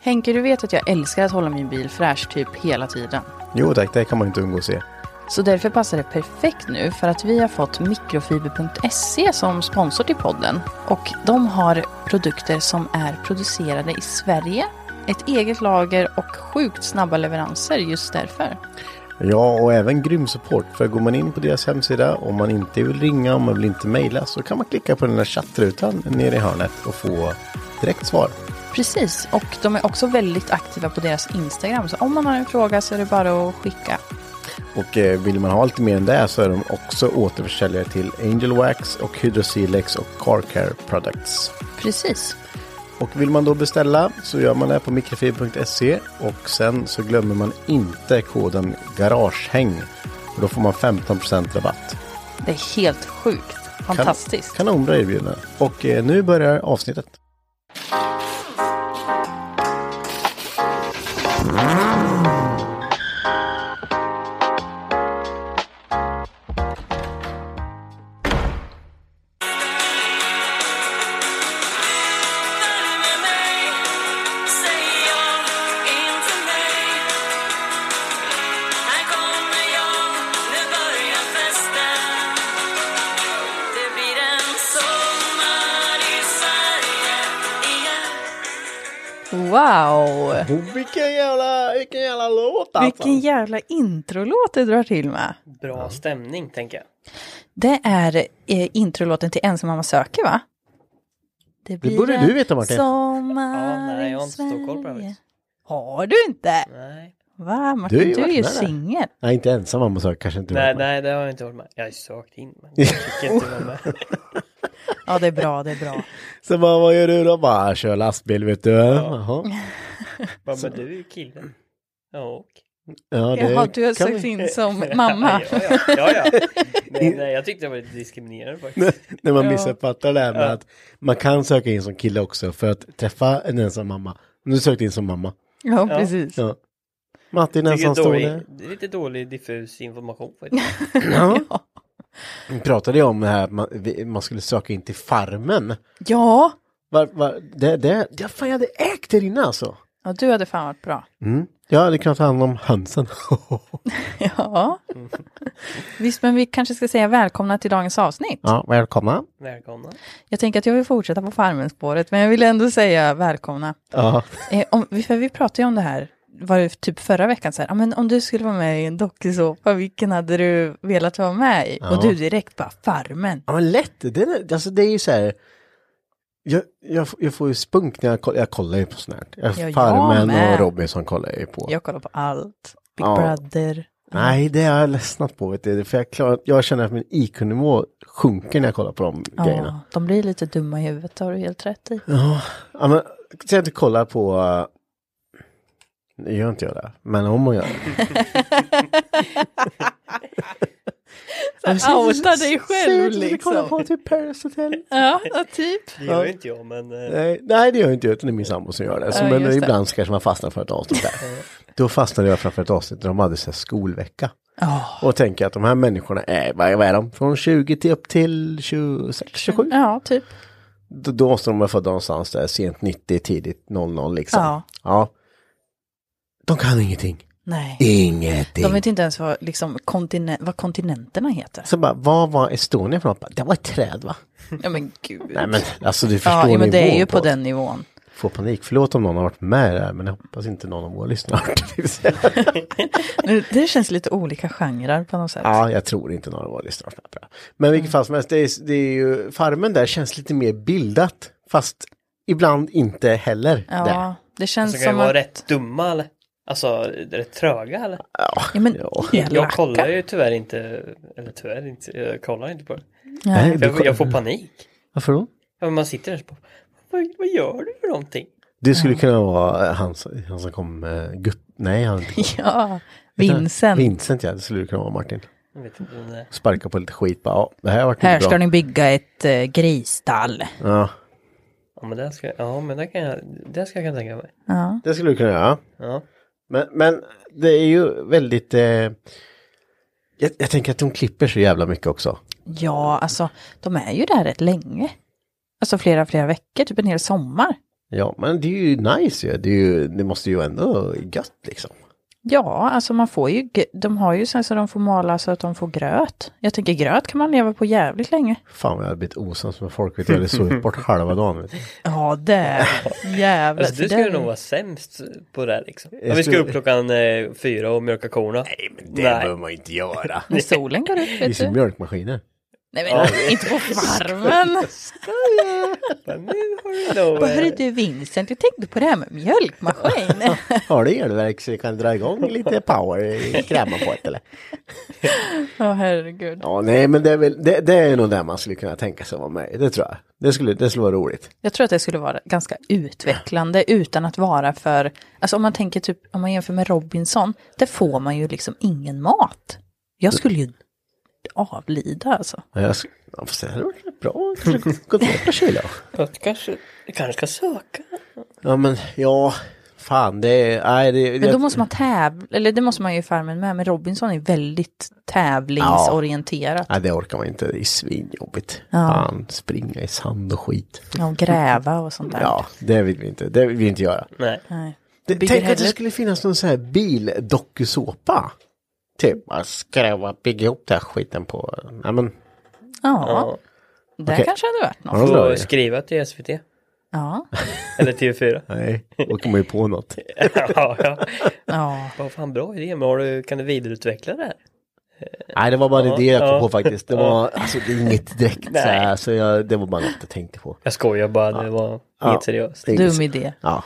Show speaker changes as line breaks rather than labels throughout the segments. Henke, du vet att jag älskar att hålla min bil fräsch typ hela tiden.
Jo tack, det kan man inte undgå att se.
Så därför passar det perfekt nu för att vi har fått mikrofiber.se som sponsor till podden. Och de har produkter som är producerade i Sverige, ett eget lager och sjukt snabba leveranser just därför.
Ja, och även grym support. För går man in på deras hemsida, om man inte vill ringa, om man vill inte mejla, så kan man klicka på den där chattrutan nere i hörnet och få direkt svar.
Precis, och de är också väldigt aktiva på deras Instagram. Så om man har en fråga så är det bara att skicka.
Och eh, vill man ha lite mer än det så är de också återförsäljare till Angel Wax och Hydrosilex och Car Care Products.
Precis.
Och vill man då beställa så gör man det på mikrofib.se och sen så glömmer man inte koden GARAGEHÄNG. Och då får man 15% rabatt.
Det är helt sjukt.
Kan-
Fantastiskt.
Kanonbra erbjudande. Och eh, nu börjar avsnittet.
Wow!
Oh, vilken jävla, vilken jävla låt alltså.
Vilken jävla introlåt du drar till med.
Bra stämning, tänker jag.
Det är eh, introlåten till Ensam mamma söker va?
Det borde
en
du veta, Martin.
Sommar
Ja, nej, jag
i
har inte så stor koll på det
Sverige.
faktiskt.
Har du inte?
Nej.
Va
Du har
Martin,
ju
du är
varit
ju
med där.
singel.
Nej, inte ensam mamma sa jag, kanske inte.
Nej,
varit med.
nej, det har jag inte varit med. Jag har ju sökt in, men jag fick inte vara med.
Ja det är bra, det är bra.
Så bara, vad gör du då? Bara, kör lastbil vet du. Ja,
Bara, men du är ju kille. Ja, och.
ja det
Jaha, du har
kan
sökt
vi-
in som mamma.
Ja, ja, ja. ja. Nej, nej, jag tyckte det var lite diskriminerande faktiskt.
När man
Ja.
missuppfattar det här med att man kan söka in som kille också för att träffa en ensam mamma. Men Du sökte in som mamma.
Ja, precis.
Ja. Martin
Vilket dålig,
ensamstående.
det är lite dålig diffus information faktiskt.
Ja. Vi pratade ju om det här att man, vi- man skulle söka in till farmen.
Ja.
Var, var, det, det, ja, fan, jag hade ägt det innan alltså.
ja, du hade fan varit bra.
Mm. Jag hade kunnat ta hand om hönsen.
Ja. Visst, men vi kanske ska säga välkomna till dagens avsnitt.
ja, välkomna.
Välkomna.
Jag tänker att jag vill fortsätta på Farmen-spåret, men jag vill ändå säga välkomna.
Ja.
Eh, om, vi- för vi pratade ju om det här, var det typ förra veckan, så här, "Ja, men om du skulle vara med i en dokusåpa, vilken hade du velat vara med i? Och du direkt bara, Farmen.
Ja, men lätt. Det är, alltså, det är ju så här. Jag, jag, f- jag får ju spunk när jag kollar. Jag kollar ju på sånt här. Jag,
Ja, jag
Farmen och
med.
Robinson kollar jag ju på.
Jag kollar på allt. Big
Ja.
Brother.
Nej, det har jag ledsnat på. Vet du. För jag, klarar, jag känner att min IQ-nivå sjunker när jag kollar på de grejerna.
Ja, de blir lite dumma i huvudet, har du helt rätt i.
Ja, ja men säg att du kollar på... eh, Nu gör inte jag det, men om man gör det.
outa dig själv
Säg att vi kollar på
liksom.
typ Paris Hotel.
Ja, ja, typ.
Det gör ju inte jag, men... eh,
Nej, nej, det gör jag inte. Utan det är min sambo som gör det. Så,
Ja,
men
just det.
ibland kanske man fastnar för ett avsnitt där. Då fastnade jag framför ett avsnitt där de hade så här skolvecka. Och tänker att de här människorna är, vad vad är de? Från 20 till upp till 26, 27?
Ja, typ.
Då, då måste de vara födda någonstans där sent 90, tidigt 00 liksom.
Ja.
ja. De kan ingenting.
Nej.
Ingenting.
De vet inte ens vad, liksom, kontinen- vad kontinenterna heter.
Så bara, vad var Estonia för något? Bara, Det var ett träd va?
Ja men gud.
Nej men alltså du förstår
ja, men det är
nivån
ju på den nivån.
Får panik. Förlåt om någon har varit med där men jag hoppas inte någon av våra lyssnare.
Nu, det känns lite olika genrer på något sätt.
Ja, jag tror inte någon var det snart. Men vilket fall som helst, det är, det är ju, Farmen där känns lite mer bildat. Fast ibland inte heller
Ja,
där.
det känns
Så Alltså, kan ju
som
vara
att...
rätt dumma eller? Alltså rätt tröga eller?
Ja, men,
Ja.
Jag
elaka.
kollar ju tyvärr inte, eller tyvärr inte, jag kollar inte på det.
Nej.
Nej, du,
Jag, jag får panik.
varför då?
Ja, men Man sitter där och bara, vad, vad gör du för någonting?
Du skulle kunna vara eh, han, som- han som kom, eh, Gut, nej han inte kom.
Ja, Vincent.
Vincent ja, det skulle du kunna vara Martin.
Jag vet inte, men, eh,
Sparka på lite skit bara, ja det här har varit
Här
inte
ska
bra.
ni bygga ett eh, grisstall.
Ja,
ja men det ska, ja men det kan jag, det ska jag kunna tänka mig.
det skulle du kunna göra.
Ja.
Men, men det är ju väldigt, eh, jag, jag tänker att de klipper så jävla mycket också.
Ja, alltså de är ju där rätt länge. Alltså flera, flera veckor, typ en hel sommar.
Ja, men det är ju nice ju. Det, är ju, det måste ju ändå gött liksom.
Ja, alltså man får ju, g- de har ju sen så de får mala så att de får gröt. Jag tänker gröt kan man leva på jävligt länge.
Fan vad jag har blivit osams med folk. Vet du, jag hade sovit bort halva dagen. Vet du.
Ja, det. Jävlar.
Alltså,
för
du skulle
den-
nog vara sämst på det här liksom.
Jag
Om vi ska
skulle-
upp klockan eh, fyra och mjölka korna. Nej, men
Det behöver man ju inte göra.
När solen går upp,
Det är
vet
som
du.
mjölkmaskiner.
Nej, men inte på varmen. Vad
eh,
hörde du Vincent, jag tänkte på det här med mjölkmaskin.
Har du elverk så du kan dra igång lite power i kräman på ett eller?
Ja, herregud.
Ja, nej men det är, väl, det, det är nog där man skulle kunna tänka sig vara med. Det tror jag. Det skulle, det skulle vara roligt.
Jag tror att det skulle vara ganska utvecklande utan att vara för, alltså om man tänker typ, om man jämför med Robinson, där får man ju liksom ingen mat. Jag skulle ju avlida alltså.
Men Jag, sk- ja, fast det hade varit bra. Kanske gå- gå ner på kyla.
Jag kanske, jag kanske ska söka.
Ja, men ja. Fan, det är... Nej, det,
Men då
jag-
måste man tävla, eller det måste man ju i Farmen med, men Robinson är väldigt tävlingsorienterat.
Nej, det orkar man inte. Det är svinjobbigt. Fan, springa i sand och skit.
Ja, och gräva och sånt där.
Ja, det vill vi inte. Det vill vi inte göra.
Nej.
Nej.
Det,
Bygger
tänk att det
heller-
skulle finnas någon sån här bildokusåpa. Typ, bara skräva, bygga ihop den här skiten på... Nej men,
Ja, det
Okej.
kanske hade varit något.
Ja, det var det.
Få skriva till SVT.
Ja,
Eller TV4.
nej, då kommer man ju på något.
ja, ja.
ja.
Vad fan bra idé, men har du, kan du vidareutveckla det här?
Nej, det var bara en idé jag kom
ja.
på faktiskt. Det var, alltså det är inget direkt så
Nej.
här, så jag, det var bara något jag tänkte på.
Jag skojar bara, det var
Ja.
inget seriöst.
Det är inget-
dum idé.
Ja.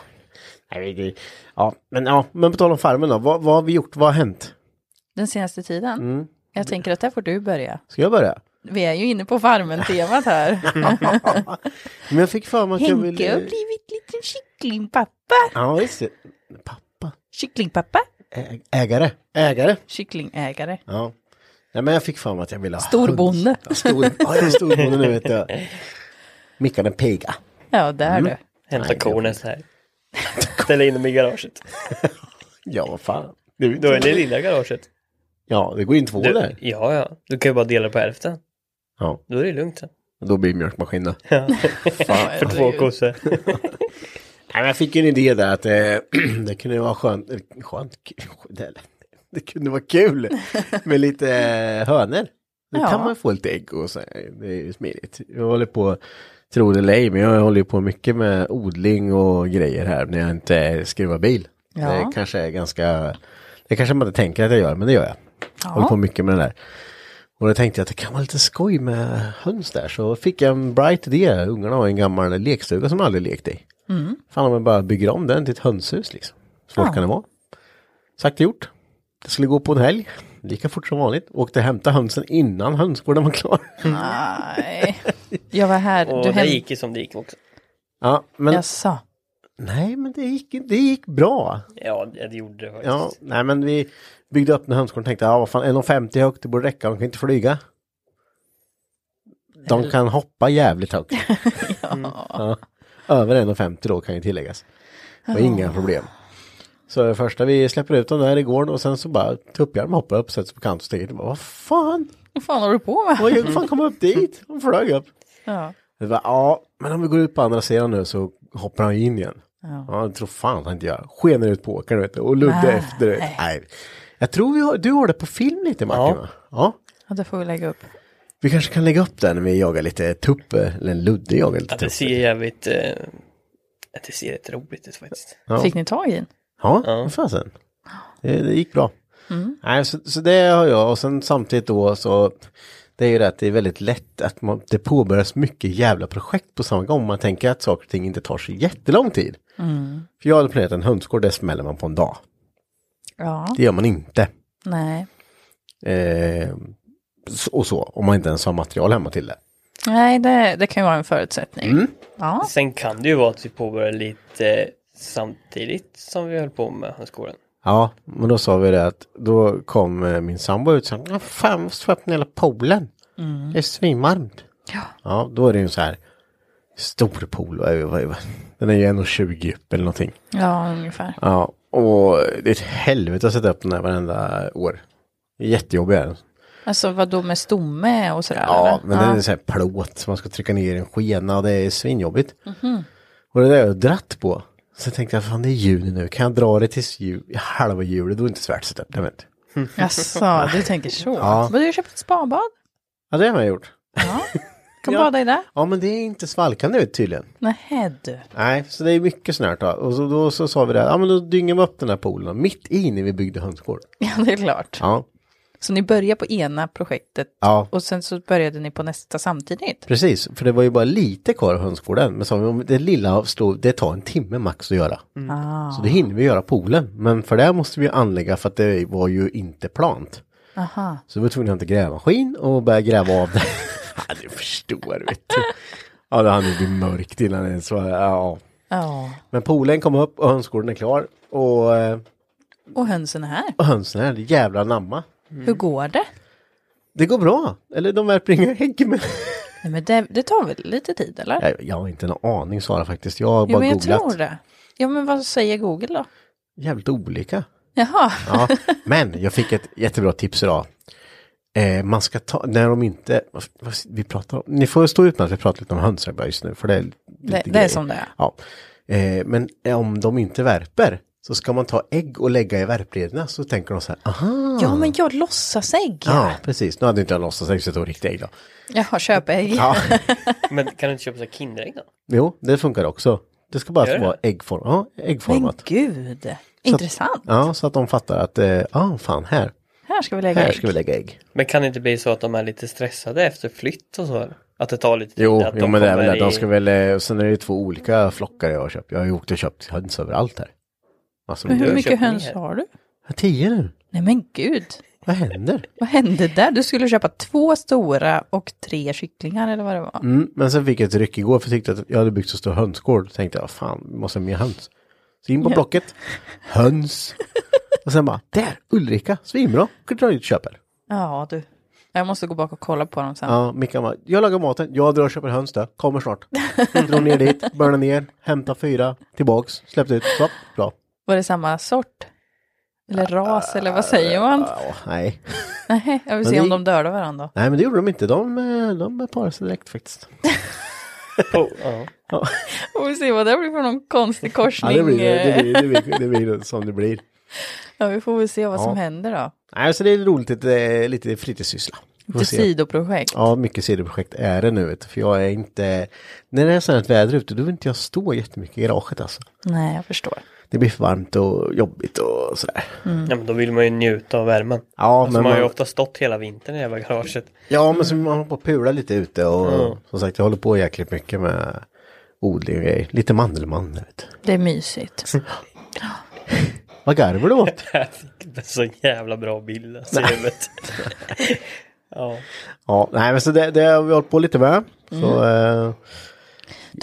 Nej, det är- Ja, men ja, men på tal om farmen då, vad, vad har vi gjort, vad har hänt?
Den senaste tiden.
Mm.
Jag tänker att där får du börja.
Ska jag börja?
Vi är ju inne på Farmen-temat här.
Men jag fick för mig att jag
Henke har
ville...
blivit liten kycklingpappa.
Ja, visst. det. Pappa.
Kycklingpappa.
Ä- Ägare. Ägare.
Kycklingägare.
Ja. Nej, men jag fick för mig att jag ville ha
Storbonde.
höns. Ja, stor, ja, jag är storbonde nu vet jag. Mickan den piga.
Ja, där du.
Mm.
Hämta kor nästa här. Ställa in dem i garaget.
Ja, vad fan. Du,
Då är det lilla garaget.
Ja, det går in två
Du,
där.
ja, ja. Du kan ju bara dela på hälften.
Ja,
Då är det lugnt sen.
då blir det mjölkmaskin då.
För två kossor.
Nej, men jag fick ju en idé där att eh, det kunde vara skönt, eller skönt, det, det kunde vara kul med lite eh, hönor. Då
Ja.
kan man få lite ägg och så, här, det är ju smidigt. Jag håller på, tro det eller ej, men jag håller ju på mycket med odling och grejer här när jag inte skruvar bil.
Ja.
Det kanske är ganska, det kanske man inte tänker att jag gör, men det gör jag. Håller på mycket med det där. Och då tänkte jag att det kan vara lite skoj med höns där. Så fick jag en bright idé. Ungarna har en gammal lekstuga som de aldrig lekt i. Fan om man bara bygger om den till ett hönshus liksom. Svårt kan det vara. Sagt och gjort. Det skulle gå på en helg. Lika fort som vanligt. Åkte och hämtade hönsen innan hönsgården var klar.
Nej. Jag var här.
Och
du
det
hem...
gick ju som det gick också.
Ja, men
Jaså.
nej, men det gick, det gick bra.
Ja, det gjorde det faktiskt.
Ja, nej men vi byggde upp den hönsgården och tänkte, ja vad fan, 1,50 högt, det borde räcka, de kan inte flyga. De kan hoppa jävligt högt. Mm, ja. Över 1,50 då kan ju tilläggas. Och inga problem. Så det första vi släpper ut dem där i gården och sen så bara tuppjärn hoppar upp, sätts på kant och stiger. Vad fan,
Vad fan håller du på med?
vad hur fan kom upp dit? De flög upp.
Ja.
Det var, ja, men om vi går ut på andra sidan nu så hoppar han ju in igen. Ja, jag tror fan han inte gör. Skenar ut på åkaren vet du, och Ludde
Nej.
efter. Vet. du. Nej. Jag tror vi har, du har det på film lite Martin va? Ja.
ja, det får vi lägga upp.
Vi kanske kan lägga upp det när vi jagar lite tupp, eller Ludde jagar lite
Att det
tupp.
ser jävligt... Eh, att det ser rätt roligt ut faktiskt.
Ja.
Fick ni tag i den?
Ja, vad fasen. Det, det gick bra. Nej, så, så det har jag och sen samtidigt då så det är ju det att det är väldigt lätt att man, det påbörjas mycket jävla projekt på samma gång. Man tänker att saker och ting inte tar så jättelång tid. För jag hade planerat en hönsgård, det smäller man på en dag.
Ja,
Det gör man inte.
nej.
Eh, s- och så, om man inte ens har material hemma till det.
Nej, det, det kan ju vara en förutsättning.
Mm.
Ja,
Sen kan det ju vara att vi påbörjar lite eh, samtidigt som vi höll på med hönsgården.
Ja, men då sa vi det att då kom eh, min sambo ut och sa, "Ja, fan vi måste få öppna hela poolen. Det är svinvarmt. Mm. Ja. ja, då är det ju en så här stor pool, vad är- vad är- vad- den är ju 1,20 djup eller någonting.
ja ungefär.
Ja, och det är ett helvete att sätta upp den här varenda år. Jättejobbig är den.
Alltså vad då med stomme och sådär?
Ja,
eller?
men den är så här plåt som man ska trycka ner i en skena och det är svinjobbigt. Och det där har jag dratt på. Så tänkte jag, fan det är juni nu, kan jag dra det till ju- halva juli, då är det inte så värt att sätta upp den. vet du.
Jaså, du tänker så. Men du har köpt ett spabad.
Ja, det har jag gjort.
Kan bada i det.
Ja men det är inte svalkande ut tydligen.
Nähä du.
Nej, så det är mycket snart då. Och så, då så sa vi det, här, ja men då dynger vi upp den här poolen mitt i när vi byggde hönsgård.
Ja, det är klart.
Ja,
Så ni börjar på ena projektet
Ja.
och sen så började ni på nästa samtidigt.
precis. För det var ju bara lite kvar av hönsgården. Men sa vi, om det lilla stod, det tar en timme max att göra. Så det hinner vi göra poolen. Men för det måste vi anlägga för att det var ju inte plant.
Aha.
Så vi var tvungna att hämta grävmaskin och börja gräva av det. ja, du förstår vet du. Ja, det hann ju bli mörkt innan det ens var, ja.
Ja.
Men poolen kom upp och hönsgården är klar. Och eh,
Och hönsen är här.
Och hönsen här, jävla namma.
Hur går det?
Det går bra. Eller de värper inga ägg. Men...
Nej, men det, det tar väl lite tid eller?
Jag, jag har inte en aning Sara faktiskt. Jag har bara
jo, men jag
googlat.
tror det. Ja, men vad säger Google då?
Jävligt olika.
Jaha.
Ja. men jag fick ett jättebra tips idag. Eh, man ska ta, när de inte, vad, vad, vi pratar om, ni får stå ut med att vi pratar lite om hönsar bara just nu. För det är, lite
det är
grejer.
som det är.
Ja. Eh, men om de inte värper så ska man ta ägg och lägga i värprederna. Så tänker de så här, aha.
Ja, men jag låtsasägg.
Mm. Ja, precis. Nu hade inte jag låtsasägg så jag tog riktiga ägg då.
Jaha, köpägg.
Ja.
Men kan du inte köpa så här Kinderägg då?
Jo, det funkar också. Det ska bara
Gör det?
vara äggform, ja,
men
äggformat.
gud. Intressant.
Ja, så att de fattar att, eh, ja fan här,
Här ska vi lägga
här
ägg.
ska vi lägga ägg.
Men kan det inte bli så att de är lite stressade efter flytt och så? eller? Att det tar lite tid?
Jo,
att
jo men det är väl
kommer
det. De ska
i-
väl, eh, sen är det ju två olika flockar jag har köpt. Jag har ju åkt och köpt höns överallt här. Massor
Men
med
hur
har
höns.
mycket
köpt
höns
mer.
har du?
Mm-hmm. Tio nu,
Nej men gud,
vad händer?
vad hände där? Du skulle köpa två stora och tre kycklingar eller vad det var.
Mm, men sen fick jag ett ryck igår för jag tyckte att jag hade byggt så stor hönsgård. Tänkte jag, fan, vi måste ha mer höns. Så in på Blocket, höns. Och sen bara, där, Ulrika, svinbra, kan du dra dit och köpa.
Ja du, jag måste gå bak och kolla på dem sen.
Ja, Mickan bara, jag lagar maten, jag drar och köper höns då, kommer snart. Drog ner dit, burnade ner, hämta fyra, tillbaks, släppte ut, så, bra.
Var det samma sort? Eller ras eller vad säger man?
Ja, nej.
Nej, jag vill
Men
se om
det-
de dödar varandra.
nej, men det gjorde de inte, de, eh, de parade sig direkt faktiskt.
Oh, ja.
Och vi se vad det blir för någon konstig
Ja,
korsning. eh,
det blir det, blir, det, blir, det blir som det blir.
Ja, vi får väl se vad som
Ja.
händer då.
Nej, så det är roligt, lite, lite fritidssyssla. Vi får
Lite
se.
sidoprojekt.
Ja, mycket sidoprojekt är det nu, vet du, för jag är inte, när det är sånt här väder ute, då vill inte jag stå jättemycket i garaget alltså.
Nej, jag förstår.
Det blir för varmt och jobbigt och sådär.
ja, men då vill man ju njuta av värmen.
Ja,
alltså,
men
man har ju
man-
ofta stått hela vintern i det jävla garaget.
Ja, men så man håller på och pula lite ute och som sagt, jag håller på jäkligt mycket med odling och grejer. Lite mandelmann, vet du.
Det är mysigt.
Vad garvar du åt?
Jag fick en så jävla bra bild. Alltså, i huvudet. ja.
ja, nej, men så det, det har vi hållit på lite med. Så, eh,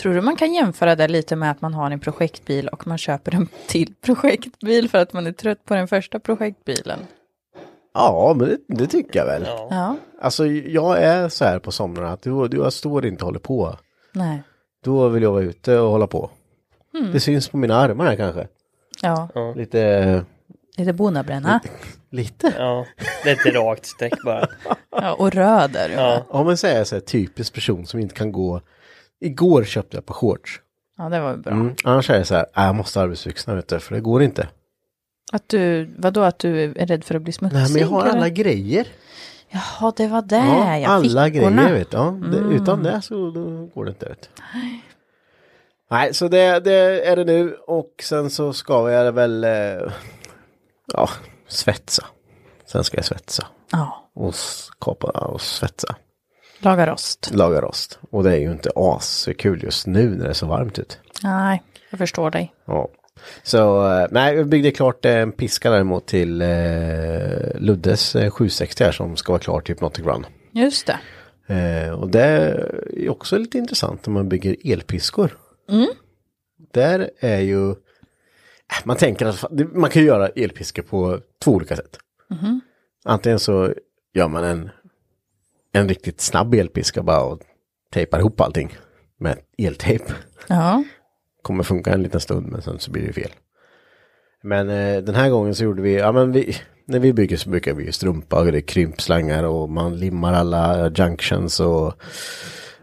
Tror du man kan jämföra det lite med att man har en projektbil och man köper en till projektbil för att man är trött på den första projektbilen?
Ja, men det, det tycker jag väl.
Ja.
Ja,
Alltså jag är så här på somrarna att då, då jag står inte och håller på.
nej.
Då vill jag vara ute och hålla på. Det syns på mina armar här kanske.
Ja,
Lite,
lite bonabränna.
Mm. lite.
ja. Det är ett rakt streck bara.
Ja, och röd är du. Ja.
Om man säger så här typisk person som inte kan gå. Igår köpte jag ett par shorts.
ja, det var ju bra.
Mm. Annars är det så här, "Ah, jag måste ha arbetsbyxorna vet du, för det går inte.
Att du, vadå att du är rädd för att bli smutsig?
Nej men jag har
eller?
alla grejer. Äh,
Jaha, det var där ja.
alla
fickorna.
grejer vet du. Ja, det, Utan det så då går det inte ut. Nej, så det, det är det nu och sen så ska jag väl eh, ja, svetsa. Sen ska jag svetsa
Ja,
och skapa och svetsa.
laga rost.
Laga rost. Och det är ju inte askul just nu när det är så varmt ut.
Nej, jag förstår dig.
Ja. Så eh, nej, jag byggde klart eh, en piska däremot till eh, Luddes eh, 760 här som ska vara klar typ något ibland.
Just det.
Eh, och det är också lite intressant när man bygger elpiskor. Där är ju, äh, man tänker att fa- det- man kan ju göra elpiskor på två olika sätt. Antingen så gör man en, en riktigt snabb elpiska bara och tejpar ihop allting med eltejp.
Ja,
Kommer funka en liten stund men sen så blir det fel. Men eh, den här gången så gjorde vi, ja men vi, när vi bygger så brukar vi ju strumpa och det är krympslangar och man limmar alla junctions och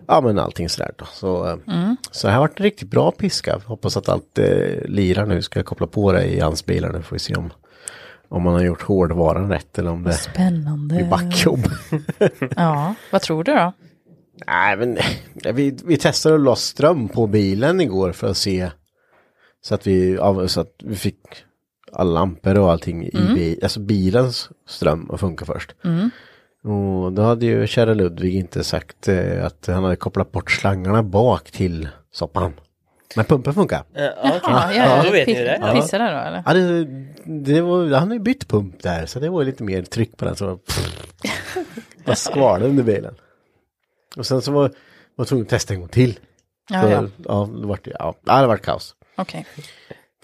ja men allting sådär då. Så, eh, så det här har varit en riktigt bra piska. Hoppas att allt eh, lirar nu. Ska jag koppla på det i hans bilar nu får vi se om, om man har gjort hårdvaran rätt eller om det blir
spännande.
backjobb.
Ja, vad tror du då?
Nej, men eh, vi, vi testade att la ström på bilen igår för att se så att vi, ja, så att vi fick alla lampor och allting i bi, alltså bilens ström att funka först. Och då hade ju kära Ludvig inte sagt eh, att han hade kopplat bort slangarna bak till soppan. Men pumpen funkar.
Eh, Ja, okej.
Ja,
ja, då vet ni det.
Ja. Pissar där då eller?
Ja, det, det var, han har ju bytt pump där så det var lite mer tryck på den. Så det var- Vad skvalade under bilen. Och sen så var var tvungen att testa en gång till.
Ja,
Så,
ja.
ja, det vart, ja, ja, det vart kaos.
Okej.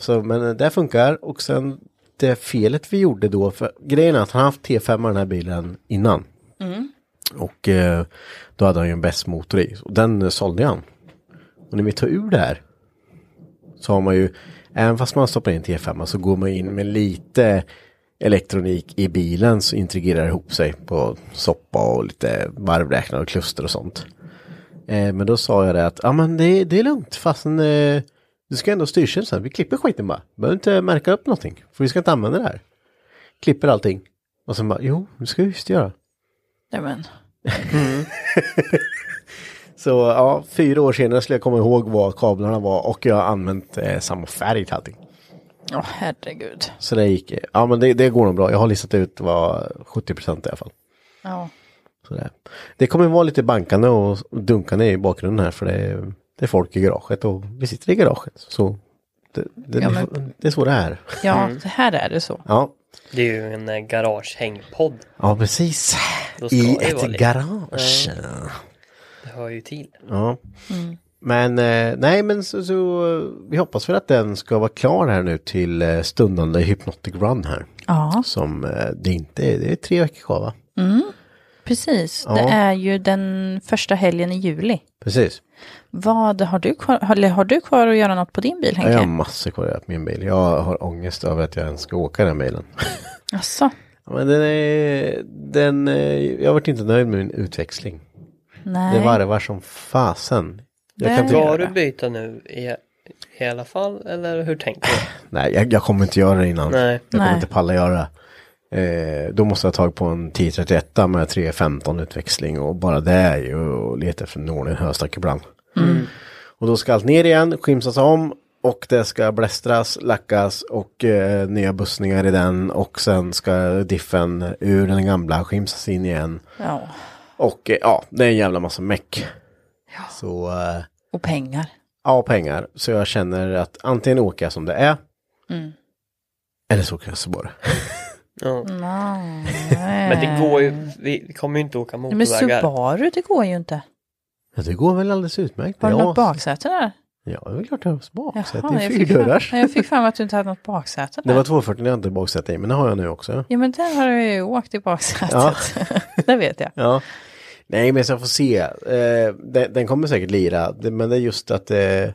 Så, men eh, det funkar och sen det felet vi gjorde då, för grejen är att han har haft T5 i den här bilen innan.
Mm.
Och eh, då hade han ju en bäst motor i och den eh, sålde han. Och när vi tar ur det här så har man ju, även fast man stoppar in T5 så går man in med lite elektronik i bilen så integrerar det ihop sig på soppa och lite varvräknare och kluster och sånt. Eh, men då sa jag det att, ja men det, det är lugnt fastän eh, du ska ändå ha styrseln sen, vi klipper skiten bara. Behöver inte märka upp någonting, för vi ska inte använda det här. Klipper allting. Och sen bara, jo, det ska jag just göra.
Nej men,
Så ja, fyra år senare skulle jag komma ihåg vad kablarna var och jag har använt eh, samma färg till allting.
åh herregud.
Så det gick, eh, ja men det, det går nog bra. Jag har listat ut vad 70% i alla fall.
Ja.
Så det, det kommer vara lite bankande och dunkande i bakgrunden här för det, är- det är folk i garaget och vi sitter i garaget. Så det, det,
Ja, men-
det är så det är.
Ja,
Mm.
det här är det så.
Ja,
Det är ju en eh, garagehängpodd.
ja precis.
Då ska
I
det vara
ett
lite.
garage.
Det hör ju till.
Ja.
Mm.
Men eh, nej, men så, så eh, vi hoppas för att den ska vara klar här nu till eh, stundande Hypnotic Run här.
Ja,
Som eh, det inte är, det är tre veckor kvar va?
Mm. precis. Det är ju den första helgen i juli.
Precis.
Vad har du kvar, har, eller har du kvar att göra något på din bil
Jag har
Henke?
massor kvar att göra på min bil. Jag har ångest över att jag ens ska åka den bilen.
Jaså?
Ja, men den är, den, eh, jag har varit inte nöjd med min utväxling.
Nej.
Det varvar som fasen. Jag kan inte
Ska
göra
du
det.
byta nu i, i alla fall eller hur tänker du?
Nej, jag, jag kommer inte göra det innan.
Nej.
Jag kommer
Nej.
inte palla göra. Eh, då måste jag ha tagit på en 1031 med 315 utväxling och bara det är ju att leta efter en ordentlig höstack ibland.
Mm.
Och då ska allt ner igen, skimsas om och det ska blästras, lackas och eh, nya bussningar i den och sen ska diffen ur den gamla skimsas in igen.
Ja,
Och eh, ja, det är en jävla massa meck. Så eh,
och pengar.
ja, pengar. Så jag känner att antingen åker jag som det är.
Mm.
Eller så åker jag så bara.
Ja.
Nej.
Men det går ju, vi vi kommer ju inte åka
Nej, Men
motorvägar.
Subaru, det går ju inte.
Ja, det går väl alldeles utmärkt.
Har du
Ja,
något baksäte där?
Ja, det är klart jag har baksäte.
Jaha,
Det är
jag fick fram-
fyrdörrars.
Jag fick fram att du inte hade något baksäte där.
Det var 240 jag inte hade baksäte i, men det har jag nu också.
Ja, men där har du ju åkt i baksätet. det vet jag.
Ja. Nej, men så jag får se. Eh, den, den kommer säkert lira, det, men det är just att eh,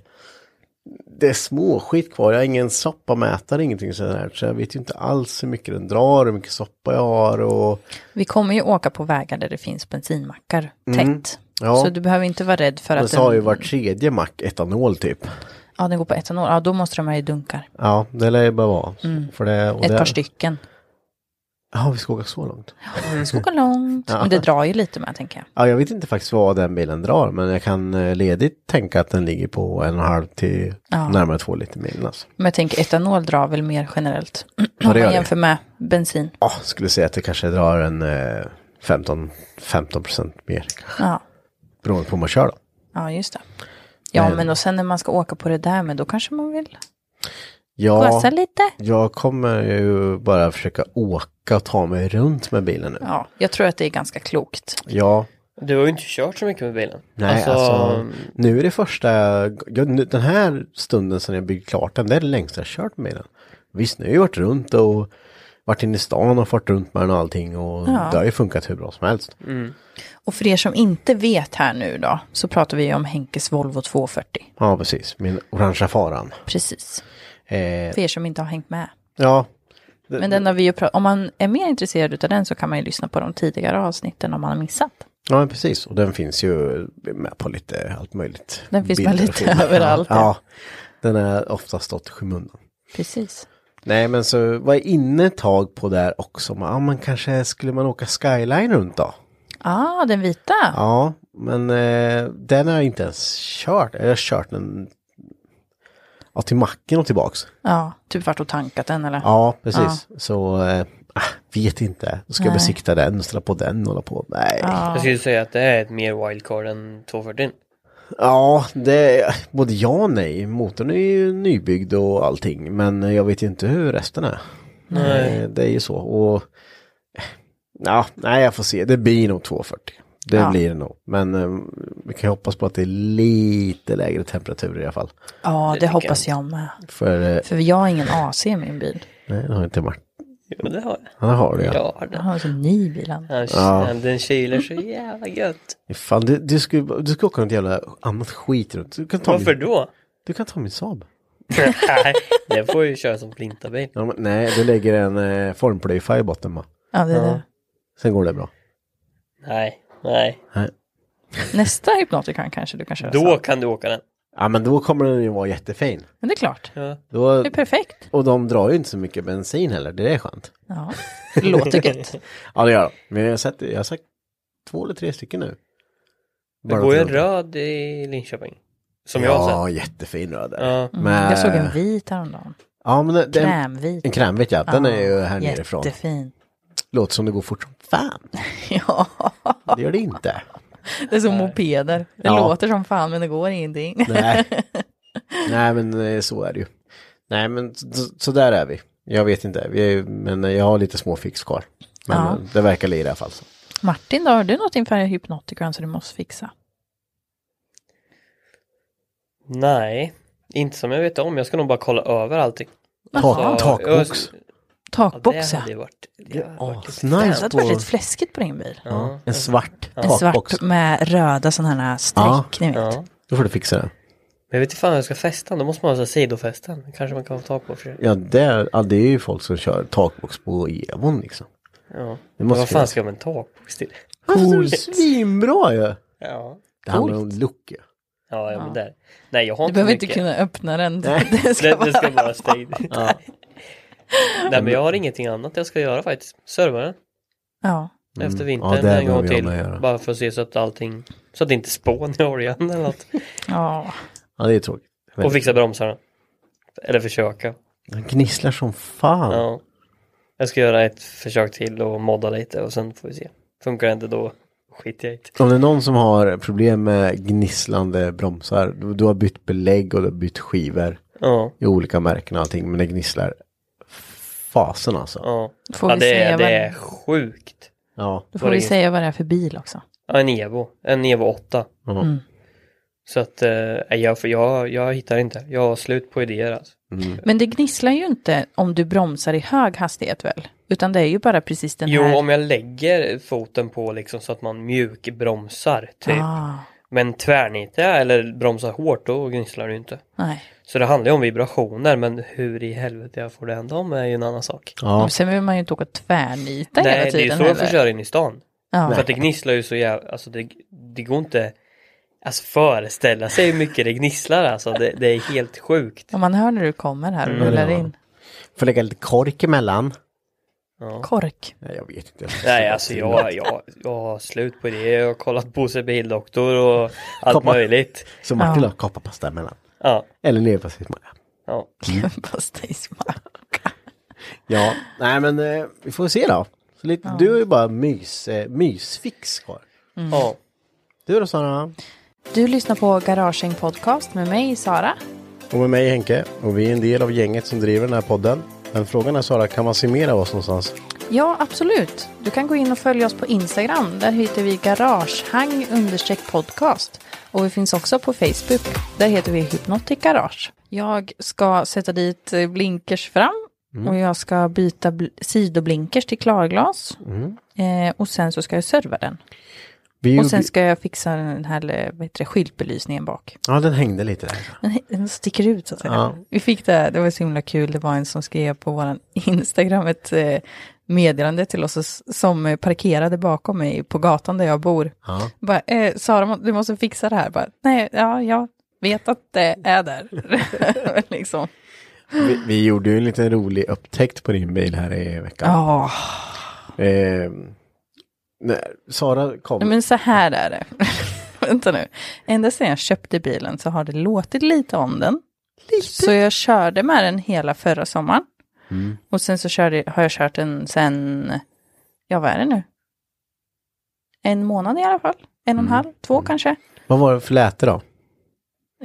det är småskit kvar. Jag har ingen soppamätare, ingenting sådär. Så jag vet ju inte alls hur mycket den drar, hur mycket soppa jag har och...
Vi kommer ju åka på vägar där det finns bensinmackar tätt.
Mm. Ja.
Så du behöver inte vara rädd för
Den
att den,
sa ju var tredje mack etanol typ.
ja, den går på etanol. Ja, då måste de ha i dunkar.
Ja, det lär ju bara vara. För det, och
Mm. Ett
det...
par stycken.
Ja, vi ska åka så långt.
Vi ska åka långt. Men det drar ju lite med, tänker jag.
Ja, jag vet inte faktiskt vad den bilen drar, men jag kan eh, ledigt tänka att den ligger på en och en halv till närmare två liter milen. Alltså.
Men jag tänker etanol drar väl mer generellt.
Ja, det
Om
gör
man
det.
jämför med bensin.
Ja, skulle säga att det kanske drar en eh, 15, 15 procent mer. kanske.
Ja.
Beroende på hur man kör då.
Ja, just det. Ja, men och sen när man ska åka på det där, men då kanske man vill
Ja,
gasa lite.
jag kommer ju bara försöka åka och ta mig runt med bilen nu.
Ja, jag tror att det är ganska klokt.
Ja,
Du har ju inte kört så mycket med bilen.
nej alltså, nu är det första, ja, nu, den här stunden sedan jag byggt klart den, det är det längsta jag kört med bilen. Visst, nu har jag varit runt och varit inne i stan och fått runt med den och allting och det har ju funkat hur bra som helst.
Och för er som inte vet här nu då, så pratar vi ju om Henkes Volvo 240.
Ja, precis, min orangea faran.
Precis.
Eh,
För er som inte har hängt med.
ja,
Men den har vi ju pra- om man är mer intresserad utav den så kan man ju lyssna på de tidigare avsnitten om man har missat.
Ja, men precis. Och den finns ju med på lite allt möjligt.
Den finns med
Bilder och
lite
filmer.
överallt,
Ja,
ja.
ja, den har ofta stått i skymundan.
Precis.
Nej, men så var jag inne ett tag på där också. Men, ja, men kanske skulle man åka skyline runt då?
Ah, den vita.
Ja, men eh, den har jag inte ens kört. Jag har kört den ja, till macken och tillbaks.
Ja, typ vart och tankat den eller?
Ja, precis. Så eh, ah, vet inte. Då ska jag
Nej.
besikta den och ställa på den och hålla på. Nej.
Jag skulle säga att det är ett mer wildcard än 240.
Ja, det, både ja och nej. Motorn är ju nybyggd och allting, men jag vet ju inte hur resten är. Eh, Det är ju så. Och, eh, ja, nej, jag får se. Det blir nog 240. Det blir det nog. Men eh, vi kan ju hoppas på att det är lite lägre temperaturer i alla fall.
Ja, det,
tycker
hoppas jag med.
För eh,
För jag har ingen AC i min bil.
nej, det har inte Martin.
Jo, det har jag.
Han har det ja.
Ja,
Jag
det.
har en sån ny bil. han.
Han, Den kyler så jävla gött.
Fan, du, du, ska, du ska åka något jävla annat skit runt. Du kan ta,
Varför
min,
då?
du kan ta min Saab.
Nej, den får ju köra som flintabil.
Ja, men, nej, du lägger en eh, formplöjfa i botten bara.
Ja, det är det.
Sen går det bra.
Nej, nej.
Nej.
Nästa hypnotikan kanske du kan köra
Då
så.
kan du åka den.
Ja men då kommer den ju vara jättefin.
Men det är klart.
Då,
Det är perfekt.
och de drar ju inte så mycket bensin heller, det är skönt.
Ja, det låter gött.
Ja det gör de. Men jag har sett, jag har sett två eller tre stycken nu.
Det går ju en röd i Linköping. Som jag har
Ja,
sett.
jättefin röd där.
Ja.
Men,
Mm,
eh,
Jag såg en vit häromdagen.
ja, men det, det,
Krämvit.
En krämvit ja, den är ju här nerifrån.
Jättefin.
Låter som det går fort som fan.
Ja,
Det gör det inte.
det är som mopeder. Det
Ja.
låter som fan men det går ingenting.
Nej. Nej men eh, så är det ju. Nej men så, så där är vi. Jag vet inte, vi är, ju- men eh, jag har lite små fix kvar. Men
Ja.
eh, det verkar lira i alla fall. så.
Martin då, har du något inför hypnotikan som du måste fixa?
Nej, inte som jag vet om. Jag ska nog bara kolla över allting.
Tak, takbox.
Takbox ja.
Ja, det hade ju varit... Det hade varit
Asnice
Det hade varit
på-
lite fläskigt på din bil.
Ja, en svart
En
takbox.
svart med röda sådana här streck, ni vet.
ja.
Då får du fixa det.
Men jag vet inte fan hur jag ska fästa den. Då måste man ha så här sidofästen. Kanske man kan få tag på för sig.
Ja det, ja, det är ju folk som kör takbox på Evon liksom.
Ja.
Det
Men
måste
vad fan
finnas.
ska jag med en takbox till?
Cool. Svinbra ju!
Ja.
Det handlar om look ju.
Ja, ja, men där. Nej, jag har
Du
inte
behöver
mycket.
inte kunna öppna den. Det ska
Det, det
vara
ska vara stängd. Nej, men jag har ingenting annat jag ska göra faktiskt. Serva den
Ja,
efter
Mm. Ja,
vintern
det
en gång
behöver jag
till.
med göra.
Bara för att se så att allting, så att det inte spånar i oljan eller något.
ja.
Ja det är tråkigt. Men
Och fixa bromsarna. Eller försöka.
Den gnisslar som fan.
Ja. Jag ska göra ett försök till och modda lite och sen får vi se. Funkar det inte då skiter jag i det.
Om det är någon som har problem med gnisslande bromsar. Du, du har bytt belägg och du har bytt skivor.
Ja,
I olika märken och allting. Men det gnisslar fasen alltså.
ja.
Får
ja
vi
det,
se
är,
vad-
det är sjukt.
Ja.
Då får
Var det
vi
ingen-
säga vad det är för bil också. Mm.
Ja, en Evo. En Evo 8.
ja.
Så att, eh, nej, jag, för jag, jag hittar inte. Jag har slut på idéer alltså.
Men det gnisslar ju inte om du bromsar i hög hastighet väl? Utan det är ju bara precis den
Jo,
här...
om jag lägger foten på liksom så att man mjukbromsar typ.
ah,
Men tvärnitar jag eller bromsar hårt då gnisslar det ju inte.
nej.
Så det handlar ju om vibrationer men hur i helvete jag får det hända om är ju en annan sak.
Ja.
Sen vill man ju inte åka tvärnita hela
Nej, det är ju
tiden
så jag får
heller.
köra in i stan.
Ja.
För att det gnisslar ju så jävla, alltså det, det går inte Alltså föreställa sig hur mycket det gnisslar alltså, det, det är helt sjukt.
Om man hör när du kommer här och
Mm.
rullar in.
Får lägga lite kork emellan.
Kork.
Nej, jag vet inte.
Nej alltså jag, jag, jag har slut på det, jag har kollat Bosse Bildoktor och allt
Komma.
möjligt.
Så Martin la kopparpasta emellan.
Ja,
Eller leverpastejsmacka.
ja.
Pastejsmacka.
Ja, nej men eh, vi får se då. Så lite, Du är ju bara mys, eh, mysfix kvar.
Mm.
ja.
Du då Sara?
du lyssnar på Garagehäng Podcast med mig, Sara.
Och med mig Henke. Och vi är en del av gänget som driver den här podden. Men frågan är Sara, kan man se mer av oss någonstans?
Ja, absolut. Du kan gå in och följa oss på Instagram. Där heter vi garagehang understreck podcast. Och vi finns också på Facebook. Där heter vi Hypnotic Garage. Jag ska sätta dit eh, blinkers fram. Och jag ska byta bl- sidoblinkers till klarglas. Eh, och sen så ska jag serva den.
Vi,
Och sen ska jag fixa den här eh, vad heter det, skyltbelysningen bak.
Ja, den hängde lite där.
Den- Den sticker ut så att säga.
Ja.
Vi fick det, det var så himla kul, det var en som skrev på vår Instagram ett eh, meddelande till oss s- som eh, parkerade bakom mig på gatan där jag bor.
Ja.
Bara, eh, Sara, må- du måste fixa det här. Bara, Nej, ja, jag vet att det är där. liksom.
Vi, vi gjorde ju en liten rolig upptäckt på din bil här i veckan.
Ja,
Eh, när Sara kom.
men så här är det. Vänta nu. Ända sedan jag köpte bilen så har det låtit lite om den. Så jag körde med den hela förra sommaren. Och sen så körde, har jag kört den sen, ja vad är det nu? En månad i alla fall. En och en halv, två kanske.
Vad var det för läte då?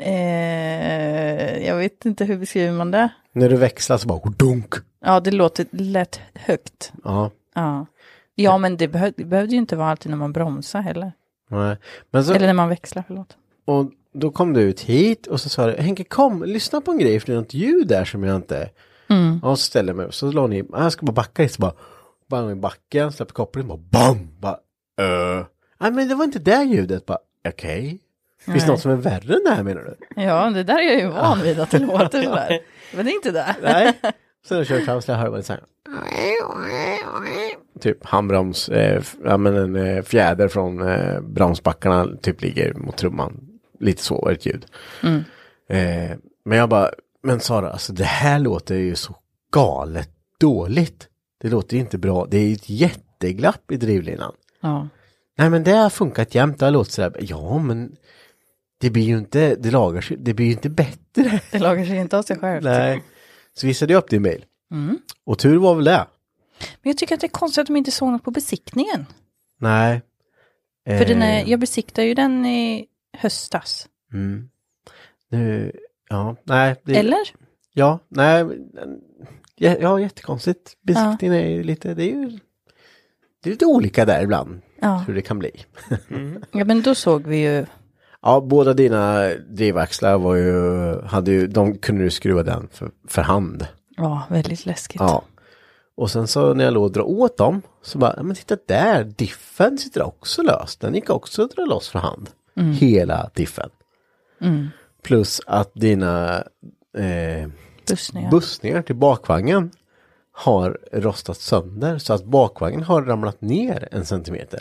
Eh, jag vet inte hur beskriver man det.
När du växlar så bara dunk.
Ja, det låter lätt högt.
Ja.
Ja, ja men det, behö, det behövde ju inte vara alltid när man bromsar heller.
nej. Men så,
Eller när man växlar, förlåt.
Och då kom du ut hit och så sa du Henke kom, lyssna på en grej för det är något ljud där som jag inte...
Mm.
Och så ställde jag mig upp, så la ni, "Ah, jag ska bara backa lite, så bara... Bang i backen, släpper kopplingen, bara bam! Bara öh. Nej men det var inte det ljudet, bara okej. Finns det något som är värre än det här menar du?
Ja, det där är jag ju van vid att det låter sådär. Men det är inte det.
Nej. Sen jag körde fram så jag hörde man så här. Typ handbroms, eh, f- ja men en eh, fjäder från eh, bromsbackarna typ ligger mot trumman. Lite så var det ett ljud. Eh, men jag bara, men Sara, alltså det här låter ju så galet dåligt. Det låter ju inte bra, det är ju ett jätteglapp i drivlinan.
Ja.
Nej men det har funkat jämt, det har låtit sådär, ja men det blir ju inte, det lagar sig, det blir ju inte bättre.
Det lagar sig inte av sig självt. Mm.
Nej. Så visade jag upp din bil. Och tur var väl det.
Men jag tycker att det är konstigt att de inte såg något på besiktningen.
Nej.
För den
Eh.
är, jag besiktar ju den i höstas.
Mm. Nu, ja, nej. Det,
Eller?
Ja, nej. men- Ja, ja jättekonstigt. Besiktningen är ju lite, det är ju det är lite olika där ibland.
Ja.
Hur det kan bli.
ja, men då såg vi ju.
Ja, båda dina drivaxlar var ju, hade ju, de kunde du skruva den för, för hand.
Ja, väldigt läskigt.
Ja. Och sen så när jag låg och drar åt dem så bara, ja, men titta där, diffen sitter också löst. Den gick också att dra loss för hand. Hela diffen. Plus att dina eh,
Bussningar.
bussningar till bakvagnen har rostat sönder så att bakvagnen har ramlat ner en centimeter.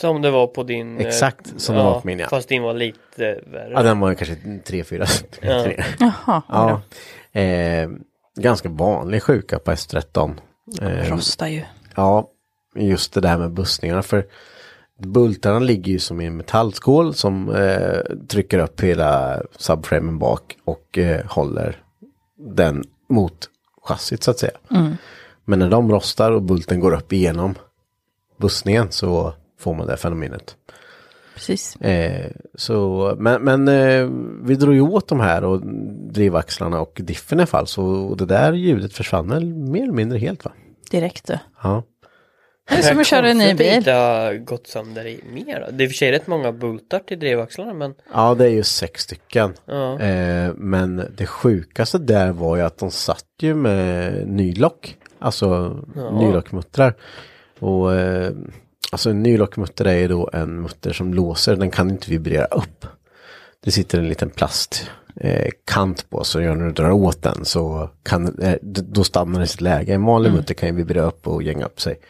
Som det var på din... eh,
Exakt som det var på min, ja.
Fast din var lite värre.
Ja, den var ju kanske tre fyra centimeter ner.
Jaha,
Ja. Eh, ganska vanlig sjuka på S13.
det
Eh,
rostar ju.
Ja, just det där med bussningarna. För bultarna ligger ju som i en metallskål som eh, trycker upp hela subframen bak och eh, håller den mot chassit så att säga. Men när de rostar och bulten går upp igenom bussningen så får man det fenomenet.
Precis.
Eh, så, men men eh, vi drog ju åt de här och drivaxlarna och diffen i alla fall så och det där ljudet försvann väl mer eller mindre helt va?
Direkt. då.
Ja.
Det är som att köra en ny
Konstigt att det
bil.
inte har gått sönder i mer. då. Det är i och för sig rätt många bultar till drivaxlarna men
Ja, det är ju sex stycken.
Ja.
Eh, men det sjukaste där var ju att de satt ju med nylock. Alltså nylockmuttrar. Och eh, alltså en nylockmutter är ju då en mutter som låser. Den kan inte vibrera upp. Det sitter en liten plastkant eh, kant på så när du drar åt den så kan, eh, d- då stannar den i sitt läge. En vanlig mutter kan ju vibrera upp och gänga upp sig.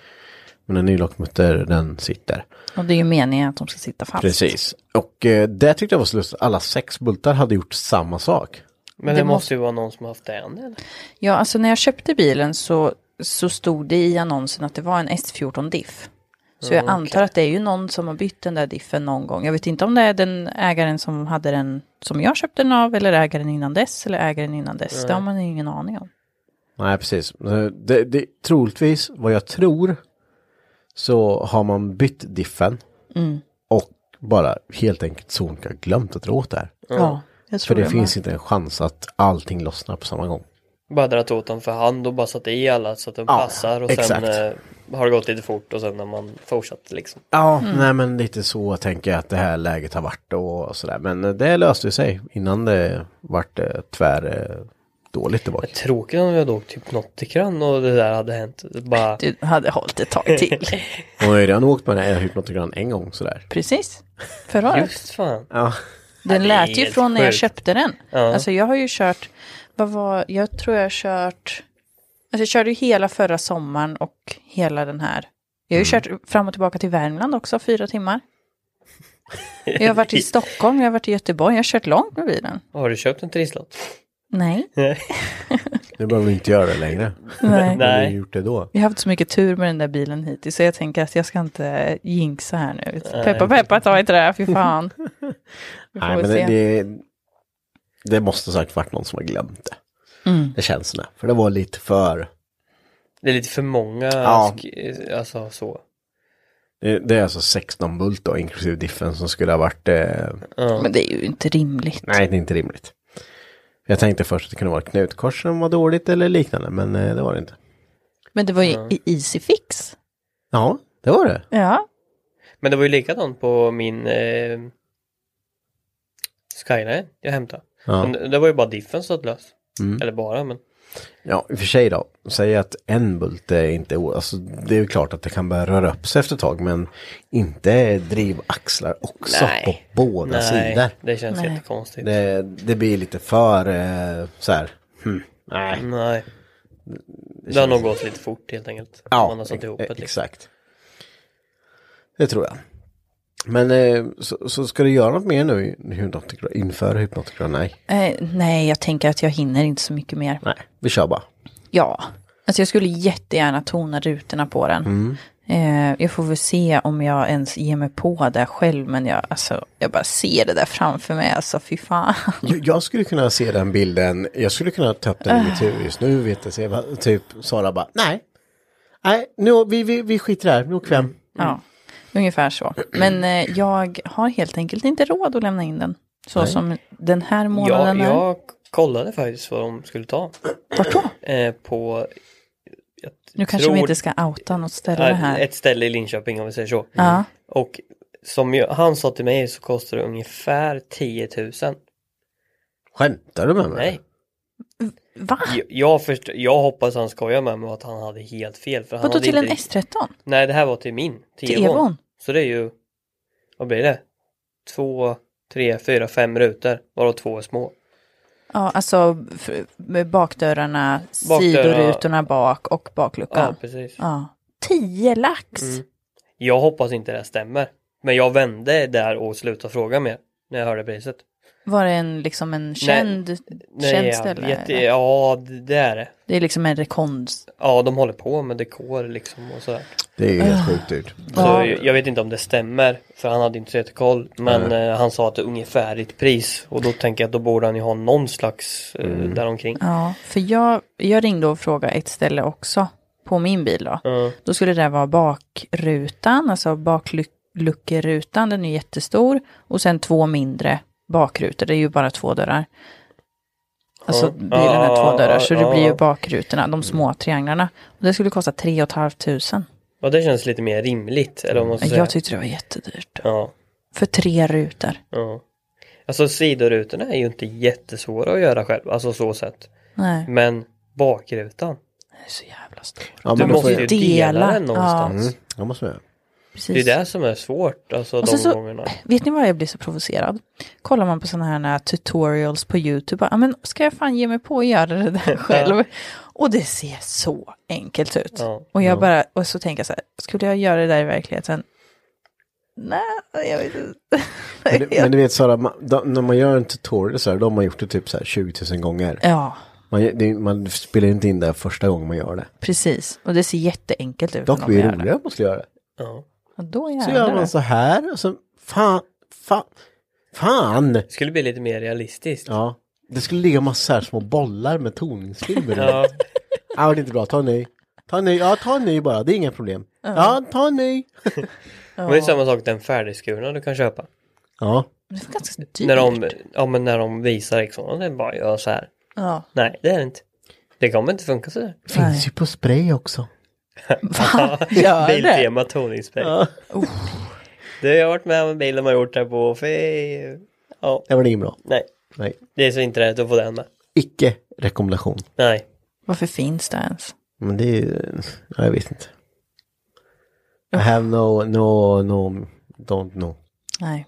Men en nylockmutter den sitter.
Och det är ju meningen att de ska sitta fast.
Precis. Och eh, det tyckte jag var så lustigt. Alla sex bultar hade gjort samma sak.
Men
Det
det,
måste-
måste ju vara någon som har haft den eller?
Ja, alltså när jag köpte bilen så, så stod det i annonsen att det var en S14 diff. Så jag antar att det är ju någon som har bytt den där diffen någon gång. Jag vet inte om det är den ägaren som hade den som jag köpte den av eller ägaren innan dess eller ägaren innan dess. Det har man ju ingen aning om.
Nej, precis. Eh, Det, det, troligtvis, vad jag tror, så har man bytt diffen. Och bara helt enkelt sonika glömt att dra åt det här.
Ja, jag
För
tror
det
det
finns inte en chans att allting lossnar på samma gång.
Bara dragit åt dem för hand och bara satt i alla så att de
Ja,
passar och
exakt.
sen eh, har det gått lite fort och sen har man fortsatt liksom.
Ja,
Mm.
nej men lite så tänker jag att det här läget har varit och sådär. Men eh, det löste sig innan det vart eh, tvär eh, dåligt tillbaka.
Tråkigt om vi hade åkt typ Nottikran och det där hade hänt. Det Bara,
Du hade hållit ett tag till.
Hon har ju redan åkt med den här hypnotogram en gång sådär.
Precis, förra året.
just fan.
Ja.
Den
det är
lät ju
helt
från när jag
sjukt.
köpte den.
Ja.
Alltså jag har ju kört, vad var, jag tror jag har kört, alltså jag körde ju hela förra sommaren och hela den här. Jag har ju
Mm.
kört fram och tillbaka till Värmland också, fyra timmar. Jag har varit i Stockholm, jag har varit i Göteborg, jag har kört långt med bilen.
Har du köpt en trisslott?
Nej.
Nu behöver vi inte göra det längre.
Nej.
Men vi har
Nej.
gjort det då.
Vi har haft så mycket tur med den där bilen hittills så jag tänker att jag ska inte jinxa här nu. Peppa peppa ta i trä, fy fan. Vi får
Nej, men
se.
det, det, det måste säkert varit någon som har glömt det.
Mm.
Det känns som det. För det var lite för...
Det är lite för många,
Ja.
sk- alltså så.
Det, det är alltså 16 bult då, inklusive diffen som skulle ha varit... Eh,
men det är ju inte rimligt.
nej, det är inte rimligt. Jag tänkte först att det kunde vara knutkors som var dåligt eller liknande, men eh, det var det inte.
Men det var ju i easy fix.
Ja, det var det.
Ja,
Men det var ju likadant på min eh, Skyline jag hämtade.
Ja. Mm.
Men det- det var ju bara diffen som satt lös. Eller bara men.
Ja, i och för sig då. Säg att en bult är inte... o- Alltså, det är ju klart att det kan börja röra upp sig efter ett tag, men inte drivaxlar också
Nej.
på båda sidor.
det känns
Nej.
jättekonstigt.
Det, det blir lite för eh, så här. Hmm. Nej.
Nej. Det har nog gått lite fort helt enkelt. Man har satt ihop
e-
det. Liksom.
exakt. Det tror jag. Men eh, så, så ska du göra något mer nu i- i hypnotikra- inför hypnotikra? Nej.
Eh, nej, jag tänker att jag hinner inte så mycket mer.
Nej, vi kör bara.
Ja, alltså jag skulle jättegärna tona rutorna på den. Eh, jag får väl se om jag ens ger mig på det själv, men jag, alltså, jag bara ser det där framför mig, alltså fy fan.
Jag, jag skulle kunna se den bilden. Jag skulle kunna ta upp den i mitt huvud just nu. Vet jag, se vad- typ Sara bara, nej. Nej, nu, vi, vi, vi skiter i det här. Nu åker vi hem.
Ja, ungefär så. Men eh, jag har helt enkelt inte råd att lämna in den. Så som den här
Ja,
månaden är.
jag kollade faktiskt vad de skulle ta.
Vart då?
Eh, på
Nu kanske vi
tror-
inte ska outa något ställe
eh,
här.
ett ställe i Linköping om vi säger så.
Mm.
Ja,
Och som ju, han sa till mig så kostar det ungefär 10 000.
Skämtar du med mig?
Nej,
va?
jag, jag, först, jag hoppas han skojar med mig och att han hade helt fel. För han
Vadå
hade
till en
inte-
S13?
Nej, det här var till min. Till,
Till
Evon.
Evon?
Så det är ju, vad blir det? Två, tre, fyra, fem rutor, varav två är små.
Ja, alltså f- med bakdörrarna,
Bakdörrar.
sidorutorna bak och
Ja,
bakluckan.
precis. Mm.
Ja. Tio lax!
Jag hoppas inte det här stämmer. Men jag vände där och slutade fråga mer när jag hörde priset.
Var det en, liksom en känd, känd
ja,
ställe?
jätte,
eller?
ja, det det är det.
Det är liksom en rekons...
Ja, de håller på med dekor liksom och sådär.
Det är ju helt sjukt dyrt.
Så
Ja.
jag- jag vet inte om det stämmer, för han hade inte så jättekoll. Men eh, han sa att det är ungefärligt pris. Och då tänker jag att då borde han ju ha någon slags eh,
Mm.
däromkring.
Ja, för jag, jag ringde och frågade ett ställe också på min bil då. Då skulle det vara bakrutan, alltså bakluckerutan, den är jättestor. Och sen två mindre bakrutor, det är ju bara två dörrar. Alltså bilen har
Ja,
två dörrar, så det
ja, Mm.
blir ju
ja.
bakrutorna, de små trianglarna. Och det skulle kosta 3 500.
Ja, det känns lite mer rimligt. Eller vad man ska säga.
Mm. Jag tyckte det var jättedyrt.
Ja,
För tre rutor.
ja. Alltså sidorutorna är ju inte jättesvåra att göra själv, alltså så sett.
Nej,
Men bakrutan,
det är så jävla stor.
Ja,
du
man
måste
får ju...
ju dela
dela.
den någonstans.
Mm, ja, måste man göra.
Det är
Precis.
det som är svårt, alltså
Och
de
sen så-
gångerna.
Vet ni vad jag blir så provocerad? Kollar man på sådana här tutorials på YouTube, bara, "Ja, men ska jag fan ge mig på att göra det där själv? Och det ser så enkelt ut.
Ja.
Och jag bara, och så tänker jag så här, skulle jag göra det där i verkligheten? Nej, jag vet inte.
Men, du- men du vet Sara, man, de, när man gör en tutorial så här, då har man gjort det typ så här 20 000 gånger.
Ja,
Man, gör- det, man spelar inte in det första gången man gör det.
precis. Och det ser jätteenkelt ut.
Dock
när de
blir det
gör
roligare om man skulle göra det.
Ja.
Och då
Så gör
jävlar.
man så här och så fan, fan, fan.
Det skulle bli lite mer realistiskt.
Ja, det skulle ligga massa här små bollar med toningsfilmer. ja.
Ja.
ja, det är inte bra, ta en ny. Ta en ny, ja ta en ny bara, det är inga problem. Ja, ta en ny.
Men det är samma sak den färdigskurna du kan köpa.
Ja,
Men Det var ganska dyrt.
När de, ja, men när de visar liksom, det är bara gör så här.
Ja,
Nej, det är det inte. Det kommer inte funka så där.
finns
Nej.
ju på spray också.
gör det. Oh.
Biltema toningsspray. Det har jag varit med om en bil de har gjort här på. Fy... Ja,
Det var det inget bra.
nej.
Nej,
Det är så inte rätt att få den med.
icke rekommendation.
Nej.
Varför finns det ens?
Men det är ju, ja, jag vet inte. I have no, no, no, don't know.
Nej.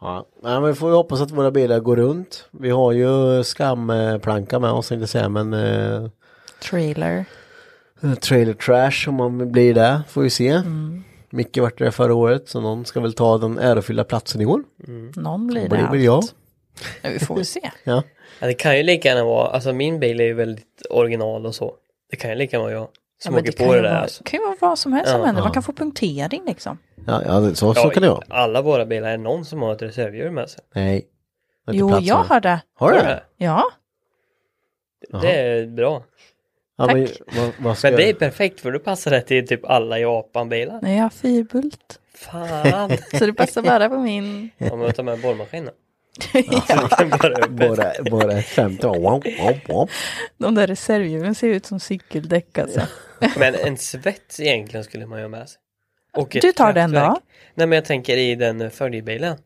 Ja, nej, men vi får ju hoppas att våra bilar går runt. Vi har ju skamplanka med oss, tänkte jag säga, men eh,
Trailer.
Trailer trash om man blir det, får vi se. Mm. Micke vart det förra året så någon ska väl ta den ärofyllda platsen i år.
Någon blir
Och
det.
det blir
allt.
jag.
Nej, vi får väl se.
Ja.
Ja, det kan ju lika gärna vara, alltså min bil är ju väldigt original och så. Det kan ju lika gärna vara jag som
men
åker
kan
på det
ju
där.
vara,
alltså.
kan ju vara vad som helst som
Ja,
händer. Man kan få punktering liksom.
Ja, ja det- så, så
Ja,
kan det vara.
Alla våra bilar är någon som har ett reservhjul med sig.
Nej. Det är inte
Jo,
plats
jag
med.
har det.
Har du
Har du
det?
Ja,
Jaha.
Det är bra.
Ja, men,
Tack.
vad, vad ska
Men det är
jag-
perfekt för du passar det till typ alla Japan-bilar.
nej, jag har fyrbult.
Fan!
Så det passar bara på min...
Om jag tar med borrmaskinen. Så du kan borra upp ett.
Bara, bara ett skämt. Wow, wow, wow.
De där reservhjulen ser ut som cykeldäck alltså.
Men en svets egentligen skulle man ju ha med sig. Och ett
Du tar den
kraftverk.
då?
Nej men jag tänker i den följebilen.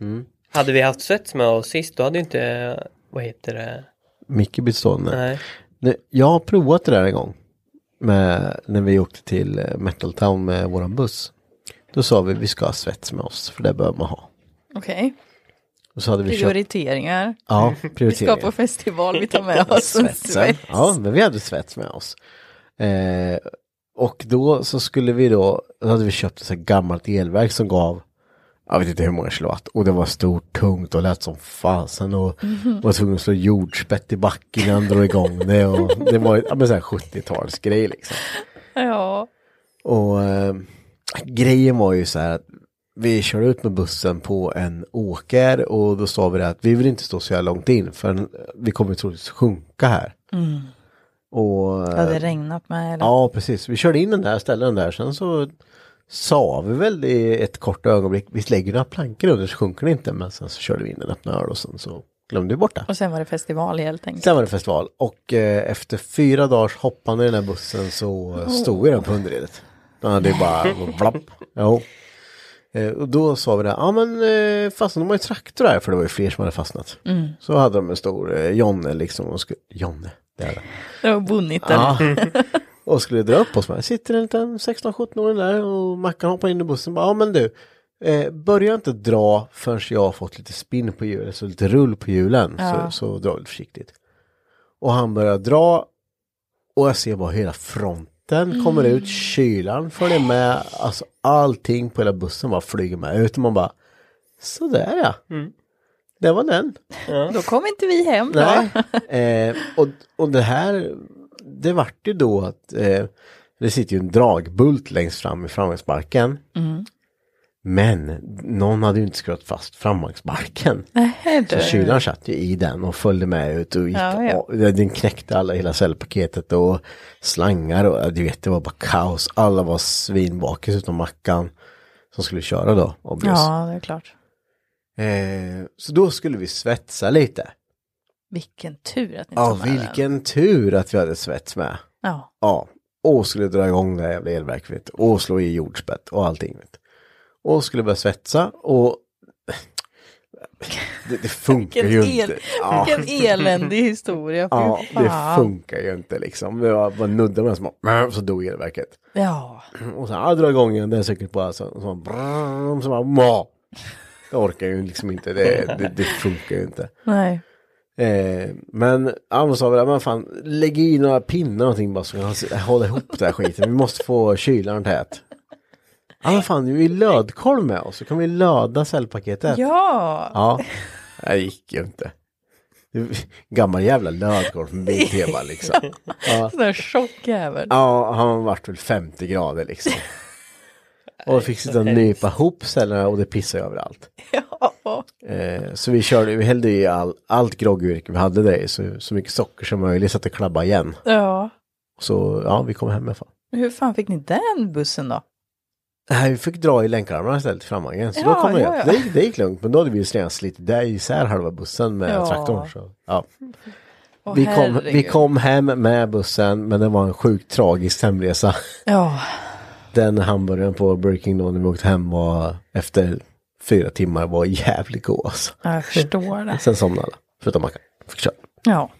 Mm.
Hade vi haft svets med oss sist då hade ju inte, vad heter det?
Micke blir stående.
Nej.
Nej, Jag har provat det där en gång. Med, när vi åkte till eh, Metal Town med våran buss. Då sa vi vi ska ha svets med oss för det behöver man ha.
Okej.
Och så hade vi köpt.
Prioriteringar.
Ja,
Vi ska på
prioriteringar.
festival, vi tar med oss en
svetsen.
svets.
Ja, men vi hade svets med oss. Eh, och då så skulle vi då, då hade vi köpt ett så här gammalt elverk som gav, jag vet inte hur många kilowatt, och det var stort, tungt och lät som fasen och var tvungen att slå jordspett i backen innan han drog igång det och det var ju, ja, men så här 70-talsgrej liksom.
Ja.
Och eh, grejen var ju så här att vi körde ut med bussen på en åker och då sa vi det att vi vill inte stå så här långt in för vi kommer troligtvis sjunka här. Och eh,
Hade det regnat med eller?
ja, precis. Vi körde in den där, ställde den där, sen så sa vi väl i ett kort ögonblick, vi lägger några plankor under så sjunker det inte, men sen så körde vi in den öppna öl och sen så glömde vi bort det.
Och sen var det festival helt enkelt.
Sen var det festival och eh, efter fyra dagars hoppande i den här bussen så eh, stod vi den på underredet. Den hade ju bara vlapp. Jo. Eh, och då sa vi det, ja ah, men eh, fastnade de har ju traktor här för det var ju fler som hade fastnat. Så hade de en stor eh, Jonne liksom. Och skulle, Jonne, det är det.
Det var bonnigt där.
Och skulle dra upp oss med. Sitter en liten 16-17-åring där och Mackan hoppar in i bussen. Bara, Ja men du, eh, börja inte dra förrän jag har fått lite spinn på hjulen, så lite rull på hjulen. Så, så dra lite försiktigt. Och han börjar dra och jag ser bara hela fronten kommer ut, kylan följer med, alltså allting på hela bussen bara flyger med ut och man bara, sådär ja. Det var den.
Då kom inte vi hem då.
Nej. eh, och, och det här, det vart ju då att eh, det sitter ju en dragbult längst fram i framvagnsbarken.
Mm.
Men någon hade ju inte skruvat fast framvagnsbarken.
Nej,
Så
du.
kylan satt ju i den och följde med ut och gick,
Ja, ja.
och den knäckte alla, hela cellpaketet och slangar och ja, du vet det var bara kaos. Alla var svinbakis utom Mackan som skulle köra då. obvious.
Ja, det är klart.
Eh, så då skulle vi svetsa lite.
Vilken tur att ni
Ja,
tog med den.
vilken tur att vi hade svets med.
Ja.
Ja, Och skulle dra igång det här jävla elverket. vet du. Och slå i jordspett och allting. Vet. du. Och skulle börja svetsa och det, det funkar ju
Vilken,
inte.
el, vilken eländig historia. fy
Ja, det
fan.
funkar ju inte liksom. Det var bara nudda med små, så dog elverket.
Ja,
Och sen, ja, dra igång igen, det är säkert bara så, och så, brrrr, så bara, ma. Det orkar ju liksom inte, det, det, det funkar ju inte.
nej.
Eh, men Amos sa väl, men fan, lägg i några pinnar och någonting bara så vi kan s- hålla ihop den här skiten. Vi måste få kylaren tät. Ja men fan, vi är lödkolv med oss, så kan vi löda cellpaketet.
Ja,
Ja, det gick ju inte. Det- Gammal jävla lödkolv från BT bara liksom. Ja.
sån där tjock jävel.
Ja, han vart väl 50 grader liksom. Och fick sitta och nypa ihop cellerna och det pissade överallt.
Ja.
Eh, så vi körde, vi hällde i all, allt groggvirke vi hade där i, så, så mycket socker som möjligt så att det klabbade igen.
ja,
Så ja, vi kom hem i alla fall.
hur fan fick ni den bussen då?
Nej, vi fick dra i länkarmarna istället framvagnen. Så då
Ja,
kom det
ja,
upp.
ja.
Det, gick- det gick lugnt, men då hade vi ju redan slitit där isär halva bussen med
Ja.
traktorn. Så, ja.
Åh,
vi, kom, vi
herregud.
kom hem med bussen, men det var en sjukt tragisk hemresa.
Ja,
Den hamburgaren på Burger King då när vi åkte hem var efter fyra timmar var jävligt god alltså.
jag förstår det.
Sen somnade alla, förutom Mackan. Fick köra.
Ja,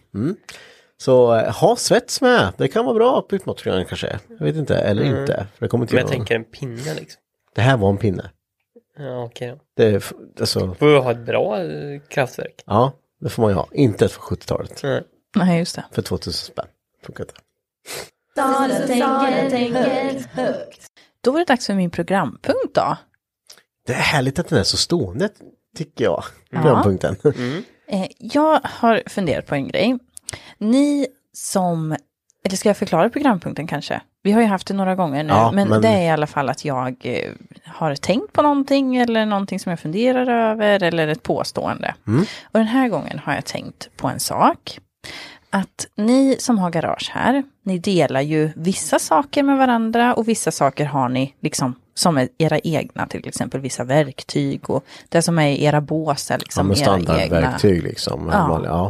Så eh, ha svets med, det kan vara bra på utmattningen kanske. Jag vet inte, eller inte. För det kommer inte
Mm. Men jag
göra någon-
tänker en pinne liksom.
Det här var en pinne.
Ja, okej då.
Det, är f- alltså,
Får vi ha ett bra eh, kraftverk?
ja, det får man ju ha. Inte ett för 70-talet,
Nej.
nej just det.
för 2000 spänn. Funkar inte.
Då var det dags för min programpunkt då.
Det är härligt att den är så stående, tycker jag. Programpunkten.
Eh, jag har funderat på en grej. Ni som, eller ska jag förklara programpunkten kanske? Vi har ju haft det några gånger nu,
Ja,
men,
men-
det är i alla fall att jag eh, har tänkt på någonting eller någonting som jag funderar över eller ett påstående.
Mm.
Och den här gången har jag tänkt på en sak. Att ni som har garage här, ni delar ju vissa saker med varandra och vissa saker har ni liksom som är era egna, till exempel vissa verktyg och det som är i era bås är
Ja,
liksom
men
era egna.
standardverktyg liksom.
Ja.
Ja. Ja,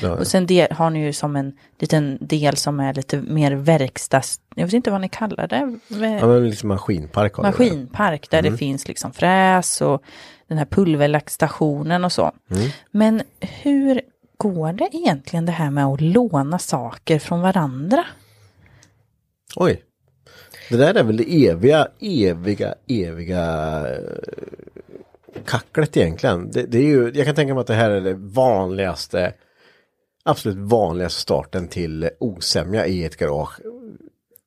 det har jag.
Och sen del, har ni ju som en liten del som är lite mer verkstads... Jag vet inte vad ni kallar det. Ve-
ja, men Mm. liksom maskinpark har vi.
maskinpark där det finns liksom fräs och den här pulverlackstationen och så.
Mm.
Men hur går det egentligen det här med att låna saker från varandra?
Oj. Det där är väl det eviga, eviga, eviga eh, kacklet egentligen. Det, det är ju, jag kan tänka mig att det här är det vanligaste, absolut vanligaste starten till osämja i ett garage.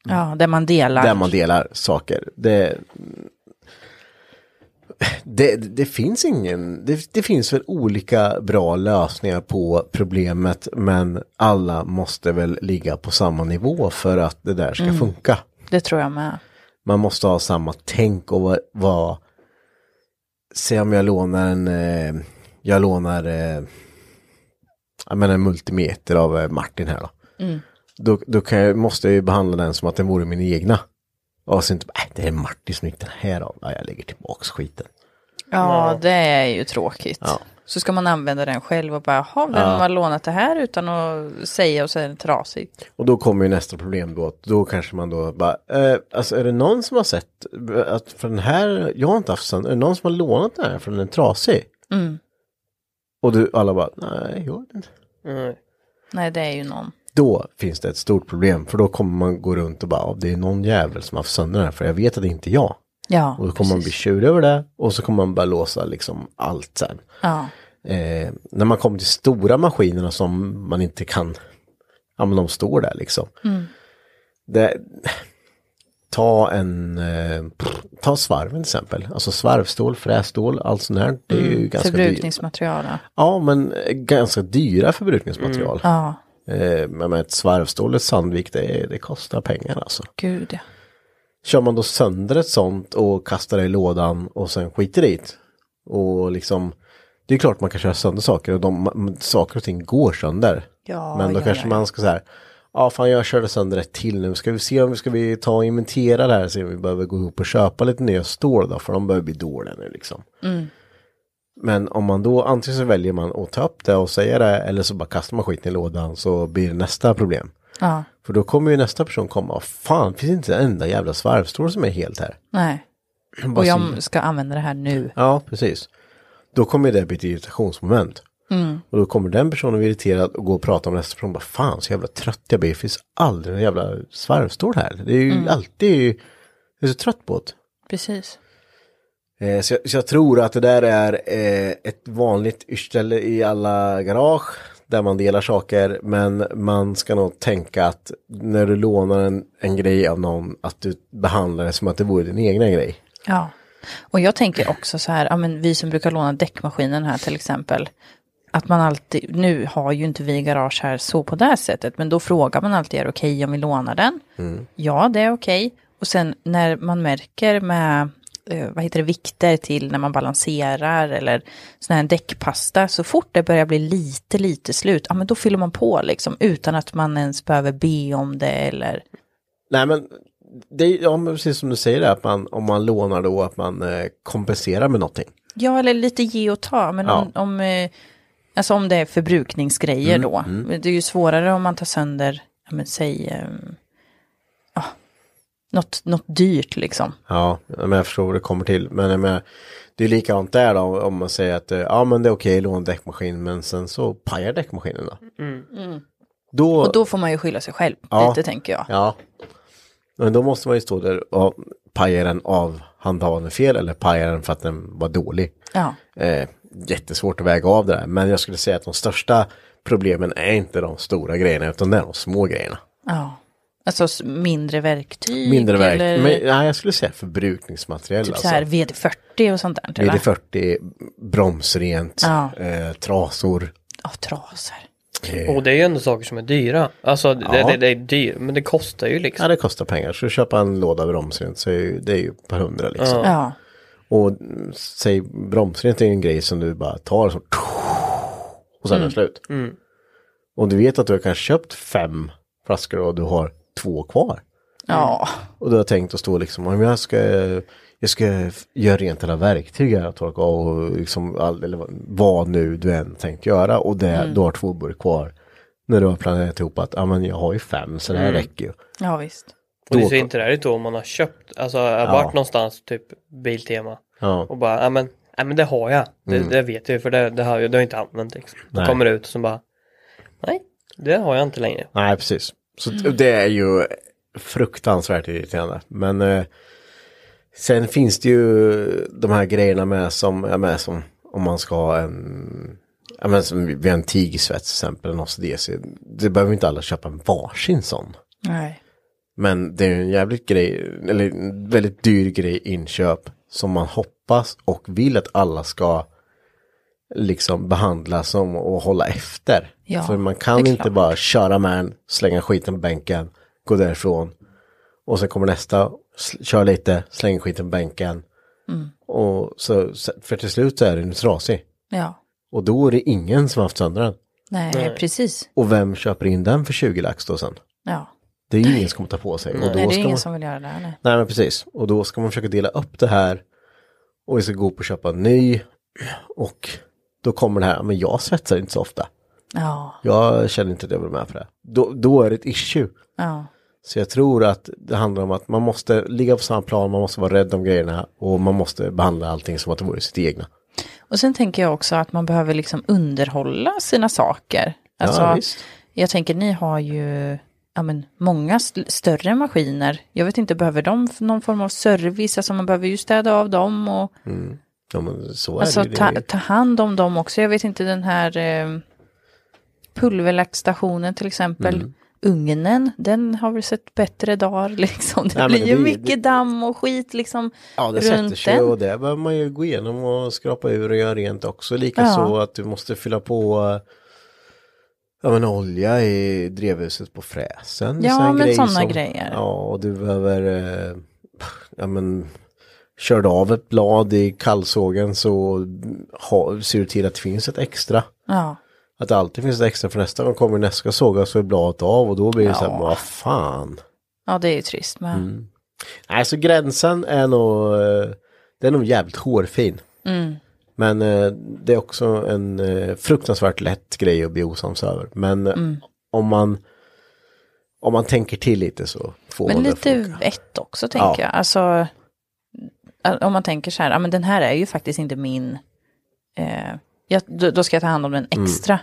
Ja, där man delar.
Mm. Där man delar saker. Det, det, det finns ingen, det, det finns väl olika bra lösningar på problemet men alla måste väl ligga på samma nivå för att det där ska funka.
Det tror jag med.
Man måste ha samma tänk och vara... vara se om jag lånar en... Eh, jag lånar... Eh, jag menar en multimeter av eh, Martin här då. Då, då kan jag, måste jag ju behandla den som att den vore min egna. Och sen inte bara, äh, det är Martin som gick den här av. Ja, jag lägger tillbaks skiten.
Ja, det är ju tråkigt.
Ja.
Så ska man använda den själv och bara, jaha, vem har lånat det här utan att säga och så är den trasig.
Och då kommer ju nästa problem då. att Då kanske man då bara, eh, alltså är det någon som har sett eh, att för den här, jag har inte haft sån, är det någon som har lånat den här för den är trasig?
Mm.
Och du, alla bara, nej, jag vet inte.
Nej.
Nej, det är ju någon.
då finns det ett stort problem för då kommer man gå runt och bara, "Ja, det är någon jävel som har haft sönder den här för jag vet att det inte är jag.
Ja,
Och då kommer man bli
precis.
tjurig över det och så kommer man börja låsa liksom allt sen.
Ja.
Eh, när man kommer till stora maskinerna som man inte kan, ja men de står där liksom. Det, ta en, eh, pff, ta svarven till exempel, alltså svarvstål, frästål, allt sånt här. Det är ju ganska dyrt.
Förbrukningsmaterial. ja.
Ja men eh, ganska dyra förbrukningsmaterial.
Ja,
Eh, Men med ett svarvstål i Sandvik, det, det kostar pengar alltså.
gud ja.
Kör man då sönder ett sånt och kastar det i lådan och sen skiter i det. Och liksom, det är klart man kan köra sönder saker och de, m- saker och ting går sönder.
Ja,
Men då
ja,
kanske
ja,
man ska så här, ja fan jag körde sönder ett till nu, ska vi se om vi ska vi ta och inventera det här, se om vi behöver gå ihop och köpa lite nya stål då, för de börjar bli dåliga nu liksom.
Mm.
Men om man då, antingen så väljer man att ta upp det och säga det, eller så bara kastar man skiten i lådan så blir det nästa problem.
Ja.
För då kommer ju nästa person komma och fan, finns inte en enda jävla svarvstrål som är helt här.
Nej.
Vad
Och
synd.
jag ska använda det här nu.
Ja, precis. Då kommer det bli ett irritationsmoment. Och då kommer den personen bli irriterad och gå och prata med nästa person. Bara, Fan så jävla trött jag blir. Det finns aldrig någon jävla svarvstål här. Det är ju alltid, jag är så trött på det.
Precis.
Eh, Så jag, så jag tror att det där är eh, ett vanligt yrställe i alla garage. Där man delar saker. Men man ska nog tänka att när du lånar en, en grej av någon. Att du behandlar det som att det vore din egna grej.
Ja. Och jag tänker också så här, ja, men vi som brukar låna däckmaskinen här till exempel. Att man alltid, nu har ju inte vi garage här så på det här sättet, men då frågar man alltid, är det okej om vi lånar den? Ja, det är okej. Och sen när man märker med, eh, vad heter det, vikter till när man balanserar eller sån här däckpasta, så fort det börjar bli lite, lite slut, ja men då fyller man på liksom, utan att man ens behöver be om det eller,
Nej men det är ja, men precis som du säger det, att man, om man lånar då att man eh, kompenserar med någonting.
Ja, eller lite ge och ta. Men
Ja. Mm,
om, om, eh, alltså om det är förbrukningsgrejer då. Det är ju svårare om man tar sönder, ja, men säg, eh, ja, något, något dyrt liksom.
Ja, men jag förstår vad det kommer till. Men jag menar, det är likadant där då om man säger att eh, ja men det är okej låna däckmaskin men sen så pajar däckmaskinen då. Då,
Och då får man ju skylla sig själv
Ja.
lite tänker jag.
ja. Men då måste man ju stå där och paja den av handhavande fel eller paja den för att den var dålig.
Ja.
Eh, jättesvårt att väga av det där. Men jag skulle säga att de största problemen är inte de stora grejerna utan det är de små grejerna.
ja. Alltså s- mindre verktyg.
Mindre verk.
Eller
Men, nej, jag skulle säga förbrukningsmaterial.
typ
alltså.
så här VD40 och sånt där. eller?
VD40, bromsrent,
Ja.
eh, trasor.
Ja, trasor.
Eh,
Och det är ju ändå saker som är dyra. Alltså det,
Ja.
det, det är dyrt, men det kostar ju liksom.
ja, det kostar pengar. Så köpa en låda bromsrent så är ju, det är ju ett par hundra liksom.
Ja.
Och mm, säg bromsrent är ju en grej som du bara tar så och sen är det slut. Och du vet att du har kanske köpt fem flaskor och du har två kvar.
Ja.
Och då har jag tänkt att stå liksom, om jag ska, jag ska f- göra rent alla verktyg här och torka av och liksom all, eller vad- vad nu du än tänkt göra och det, du har två burk kvar. När du har planerat ihop att, ja men jag har ju fem så det här räcker ju.
ja, visst.
och det
då-
ser inte där ut då om man har köpt, alltså har varit någonstans, typ Biltema.
Ja.
Och bara, ja men, ja, men det har jag. Det, det vet jag ju, för det, det har jag, det har jag inte använt liksom.
Mm. Nej.
Då kommer det ut och så bara, nej, det har jag inte längre.
Nej precis. Så t- det är ju fruktansvärt irriterande. Men eh, sen finns det ju de här grejerna med som, ja, med som om man ska ha en, ja men som vid en tigersvets till exempel, en ACDC. Det behöver inte alla köpa en varsin sån.
Nej.
Men det är ju en jävligt grej, eller en väldigt dyr grej inköp som man hoppas och vill att alla ska liksom behandla som och hålla efter.
Ja,
För man
det
kan
är
inte
klart.
bara köra med en, slänga skiten på bänken, gå därifrån och sen kommer nästa, sl- kör lite, slänger skiten på bänken.
Mm.
Och så, så- för till slut så är den trasig.
Ja.
Och då är det ingen som har haft sönder den.
Nej, precis.
Och vem köper in den för 20 lax då sen?
Ja.
Det är ju ingen som kommer ta på sig. Och då
Nej, det
ska
är ingen
man...
som vill göra det här. Nej.
Nej men precis. Och då ska man försöka dela upp det här. Och vi ska gå upp och köpa en ny. Och då kommer det här, men jag svetsar inte så ofta.
Ja.
Jag känner inte att jag vill vara med på det. Då, då är det ett issue.
Ja.
Så jag tror att det handlar om att man måste ligga på samma plan, man måste vara rädd om grejerna och man måste behandla allting som att det vore sitt egna.
Och sen tänker jag också att man behöver liksom underhålla sina saker. Alltså,
ja, visst.
jag tänker ni har ju ja, men, många st- större maskiner. Jag vet inte, behöver de f- någon form av service? Alltså man behöver ju städa av dem och
Ja, men så
alltså,
är det ju.
ta,
Det är ju-
ta hand om dem också. Jag vet inte den här eh, pulverlackstationen till exempel.
Mm.
Ugnen, den har väl sett bättre dagar liksom. Det
Nej, men
blir
det
ju
blir-
mycket damm och skit liksom
Ja, det sätter
runt
sig
den.
och det behöver man ju gå igenom och skrapa ur och göra rent också. Likaså att du måste fylla på eh, ja, men olja i drevhuset på fräsen.
Ja,
Så en
men
grej
såna grejer.
Ja, och du behöver, eh, ja men, kör du av ett blad i kallsågen så ha, ser du till att det finns ett extra.
Ja,
Att det alltid finns ett extra för nästa gång kommer nästa ska såga så är bladet av och då blir det så här, vad fan.
ja det är ju trist. Men...
Mm. Alltså gränsen är nog, eh, den är nog jävligt hårfin.
Mm.
Men eh, det är också en
Mm.
eh, fruktansvärt lätt grej att bli osams över. Men eh, om man om man tänker till lite så får
Men
man
lite
det att funka.
vett också tänker
Ja.
jag. Alltså, eh, om man tänker så här, ja men den här är ju faktiskt inte min, eh, jag, då, då ska jag ta hand om den
Mm.
extra,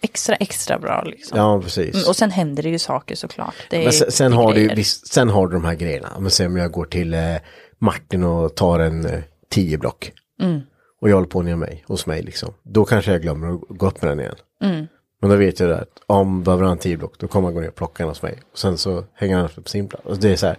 extra, extra bra liksom.
Ja, precis.
Mm, Och sen händer det ju saker såklart. Det är
Men sen, sen, har du, ju
grejer.
visst, sen har du de här grejerna. Om man säger om jag går till eh, Martin och tar en eh, 10 block.
Mm.
Och jag håller på ner mig, hos mig liksom. Då kanske jag glömmer att gå upp med den igen.
Mm.
Men då vet jag det att om behöver han 10 block, då kommer han gå ner och plocka den hos mig. Och sen så hänger han upp på sin plats. Och det är så här.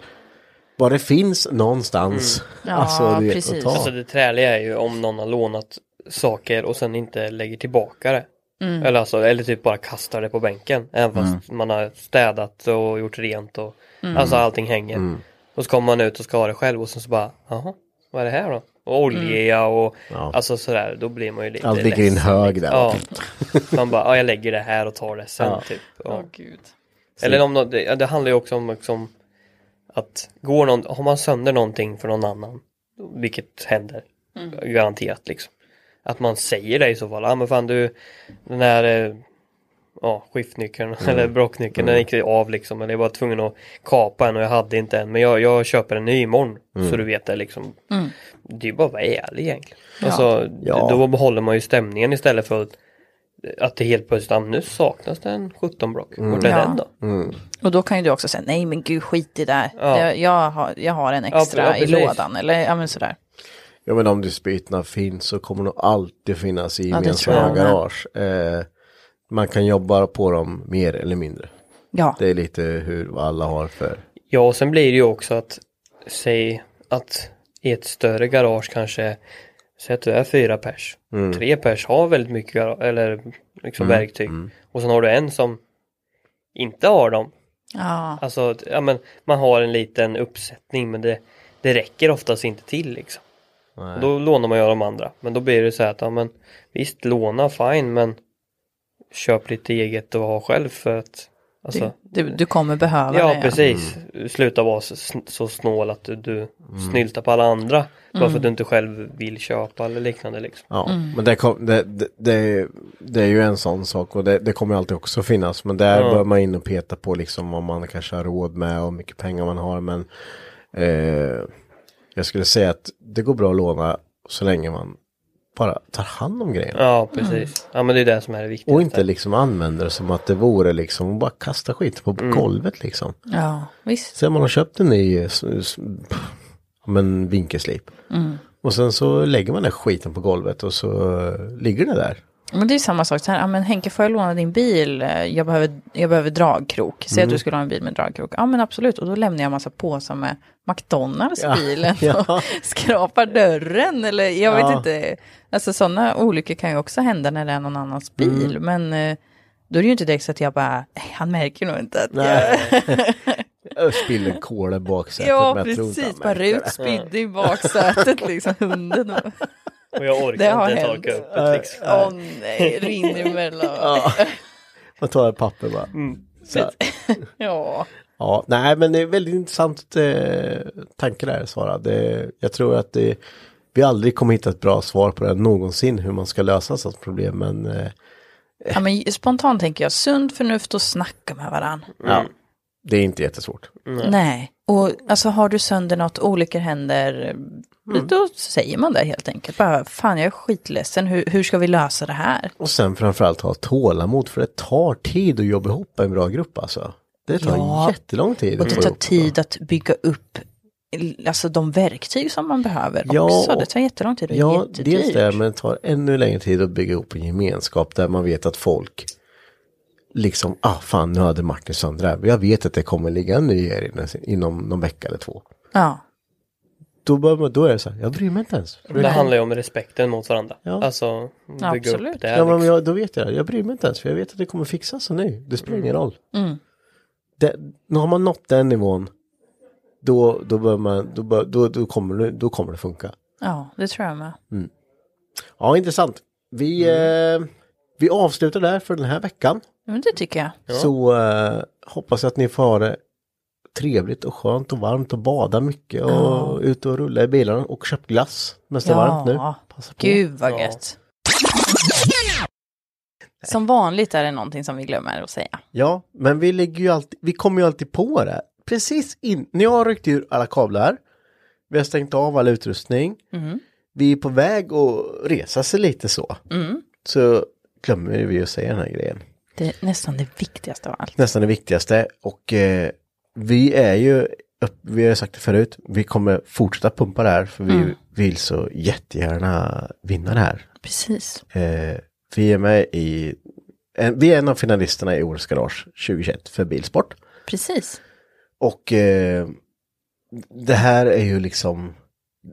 Bara det finns någonstans.
Mm. Ja,
alltså, du vet,
precis.
att ta.
Alltså,
Så det träliga är ju om någon har lånat saker och sen inte lägger tillbaka det. Eller, alltså, eller typ bara kastar det på bänken. Även fast
Mm.
man har städat och gjort rent och alltså allting hänger.
Mm.
Och så kommer man ut och ska ha det själv och sen så bara, jaha, vad är det här då? Och olja och alltså sådär, då blir man ju lite
Allt ligger i en
ledsen.
hög där.
Ja, man bara, ja jag lägger det här och tar det sen typ. Ja. Eller om någon, det, det handlar ju också om liksom, att går någon, har man sönder någonting för någon annan, vilket händer garanterat liksom. Att man säger det i så fall, ja ah, men fan du, den här eh, ja, skiftnyckeln eller brocknyckeln, den gick av liksom. Eller jag var tvungen att kapa en och jag hade inte en, men jag, jag köper en ny imorgon. Så du vet det liksom. Det är ju bara att vara ärlig egentligen. Alltså,
Ja.
Då behåller man ju stämningen istället för att att det helt plötsligt, ah, men nu saknas det en 17 block. Vart är
Ja.
den då?
Och då kan ju du också säga, nej men gud skit i det där. Jag, jag, har, jag har en
Ja,
extra
ja,
i
precis.
lådan eller ja men sådär.
Ja men om dispyterna finns så kommer de alltid finnas i
det
gemensamma
tror jag med.
garage. Eh, man kan jobba på dem mer eller mindre.
Ja,
Det är lite hur vad alla har för.
Ja, och sen blir det ju också att säg att i ett större garage kanske säg att du är fyra pers. Tre pers har väldigt mycket gara- eller liksom verktyg. Och sen har du en som inte har dem.
ja.
Alltså, att, ja, men man har en liten uppsättning men det, det räcker oftast inte till liksom. Och Då lånar man ju av de andra. Men då blir det så här att ja, men, visst låna fine men köp lite eget och ha själv för att alltså,
Du, du, du kommer behöva
Ja,
det. ja.
precis.
Mm.
Sluta vara så, sn- så snål att du, du snyltar på alla andra. Bara
Mm.
för att du inte själv vill köpa eller liknande liksom.
Ja, men det, kom, det, det, det, det är ju en sån sak och det, det kommer alltid också finnas. Men där bör man in och peta på liksom om man kanske har råd med och hur mycket pengar man har. Men eh, jag skulle säga att det går bra att låna så länge man bara tar hand om grejerna.
Ja, precis.
Mm.
Ja, men det är det som är det viktiga.
Och inte liksom använder det som att det vore liksom bara kasta skit på
Mm.
golvet liksom.
Ja, visst.
Sen man har köpt en ny eh, s- s- pff, men vinkelslip.
Mm.
Och sen så lägger man den skiten på golvet och så eh, ligger det där.
Men det är ju samma sak, så här, ja, men Henke får jag låna din bil, Eh, jag behöver, jag behöver dragkrok. Säg
Mm.
att du skulle ha en bil med dragkrok, ja men absolut, och då lämnar jag massa påsar med McDonalds
Ja,
bilen
ja.
och skrapar dörren eller jag
Ja.
vet inte. Alltså sådana olyckor kan ju också hända när det är någon annans
Mm.
bil, men eh, då är det ju inte direkt så att jag bara, "Nej, han märker nog inte att jag...
Jag spiller kol i baksätet.
Ja,
men jag tror inte han
precis, bara
märker
Rut spydde i baksätet liksom, hunden. och-
Och jag
Det har
orkar inte
hänt.
torka upp ett liksom.
Åh nej, rinner emellan. Ja.
det. Man tar ett papper bara.
Mm.
Så, här.
ja.
ja, nej men det är väldigt intressant eh, tanke där Sara. Det, jag tror att det, vi aldrig kommer hitta ett bra svar på det här någonsin hur man ska lösa sådant problem. Men eh,
Ja, men spontant tänker jag sunt förnuft och snacka med varandra.
ja, Mm. det är inte jättesvårt.
Nej, och alltså har du sönder något, olyckor händer,
Mm.
då säger man det helt enkelt. Bara, fan jag är skitledsen, hur, hur ska vi lösa det här?
Och sen framförallt ha tålamod för det tar tid att jobba ihop en bra grupp alltså. Det tar
Ja.
jättelång tid. Mm.
Och
att
det
få
tar
ihop.
tid att bygga upp alltså, de verktyg som man behöver
Ja,
också.
och-
Det tar jättelång tid och är
Ja,
jättedyrt.
dels det, men det tar ännu längre tid att bygga ihop en gemenskap där man vet att folk liksom, ah fan nu hade Martin sönder det här. Jag vet att det kommer ligga en ny er inne- inom någon vecka eller två.
Ja,
Då, bör man, då är det så här, jag bryr mig inte ens.
Det handlar ju om respekten mot varandra.
Ja.
Alltså, bygga
Absolut.
upp det här.
Ja, men
liksom.
jag, då vet jag det, jag bryr mig inte ens för jag vet att det kommer fixas och nu. Det spelar ingen roll. Det, nu har man nått den nivån, då, då, bör man, då, bör, då, då, kommer, det, då kommer det funka.
ja, det tror jag med.
Ja, intressant. Vi, eh, vi avslutar där för den här veckan.
Men det tycker jag.
Så eh, hoppas jag att ni får ha det trevligt och skönt och varmt och bada mycket och ut och rulla i bilarna och köp glass. Mest är varmt nu. Passa på.
Gud vad gött. Som vanligt är det någonting som vi glömmer att säga.
Ja, men vi lägger ju alltid, vi kommer ju alltid på det. Precis in, när jag har ryckt ur alla kablar, vi har stängt av all utrustning, vi är på väg att resa sig lite så. Så glömmer vi att säga den här grejen.
Mm. Det är nästan det viktigaste av allt.
Nästan det viktigaste och eh, vi är ju, upp, vi har sagt det förut, vi kommer fortsätta pumpa det här för vi vill så jättegärna vinna det här.
Precis.
Eh, vi är med i, en- vi är en av finalisterna i årets garage 2021 för bilsport.
Precis.
Och eh, det här är ju liksom,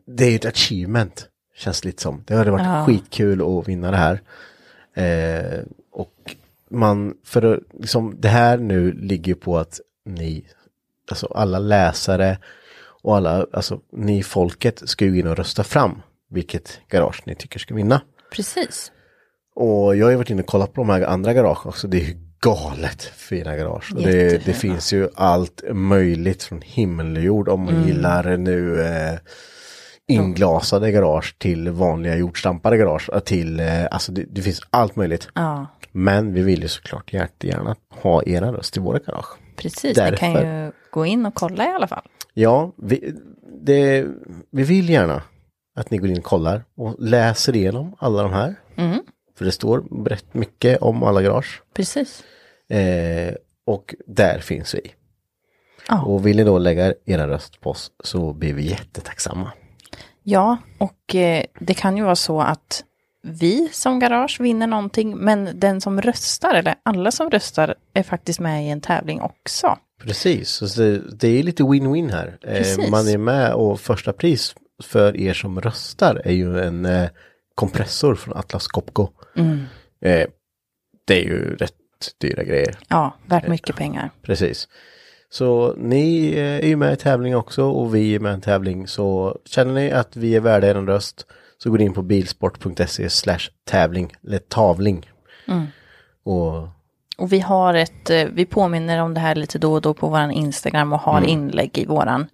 det är ju ett achievement. Känns lite som. Det hade varit
Ja.
skitkul att vinna det här. Eh, och man, för att, liksom, det här nu ligger ju på att ni, alltså alla läsare och alla, alltså ni folket ska ju gå in och rösta fram vilket garage ni tycker ska vinna.
Precis.
Och jag har ju varit inne och kollat på de här andra garagen också. Det är ju galet fina garage. Och det, det
Jättefina.
finns ju allt möjligt från himmel och jord. Om man gillar nu eh, inglasade garage till vanliga jordstampade garage. eh, Till, eh, alltså det, det finns allt möjligt.
Ja,
Men vi vill ju såklart jättegärna ha era röst i våra garage.
precis.
Därför.
Ni kan ju gå in och kolla i alla fall.
Ja, vi, det, vi vill gärna att ni går in och kollar och läser igenom alla de här. För det står rätt mycket om alla garage.
Precis.
Eh, och där finns vi.
Ja.
Och vill ni då lägga era röst på oss så blir vi jättetacksamma.
Ja, och eh, det kan ju vara så att vi som garage vinner någonting, men den som röstar, eller alla som röstar, är faktiskt med i en tävling också.
Precis, så det, det är lite win-win här. Eh,
Precis.
man är med och första pris för er som röstar är ju en eh, kompressor från Atlas Copco.
Mm.
Eh, det är ju rätt dyra grejer.
Ja, värt mycket pengar.
Precis. Så ni eh, är ju med i tävling också och vi är med i en tävling. Så känner ni att vi är värda er en röst så går ni in på bilsport.se slash tävling eller tavling.
Mm.
Och
Och vi har ett, eh, vi påminner om det här lite då och då på våran Instagram och har inlägg i våran,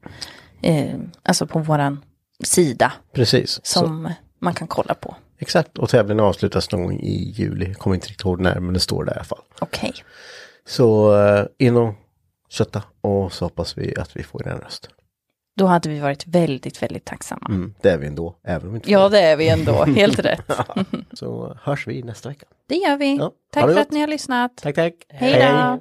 eh, alltså på våran sida
precis. Så,
som man kan kolla på.
exakt. Och tävlingen avslutas någon gång i juli. Jag kommer inte riktigt ihåg när men det står där i alla fall.
Okej,
Så eh, in och kötta och så hoppas vi att vi får en röst.
då hade vi varit väldigt, väldigt tacksamma.
Mm, det är vi ändå, även om vi inte får
Ja,
det.
det är vi ändå, helt rätt.
Så hörs vi nästa vecka.
Det gör vi.
Ja, ha
Tack
det
för
gott.
att ni har lyssnat.
Tack, tack.
Hej då!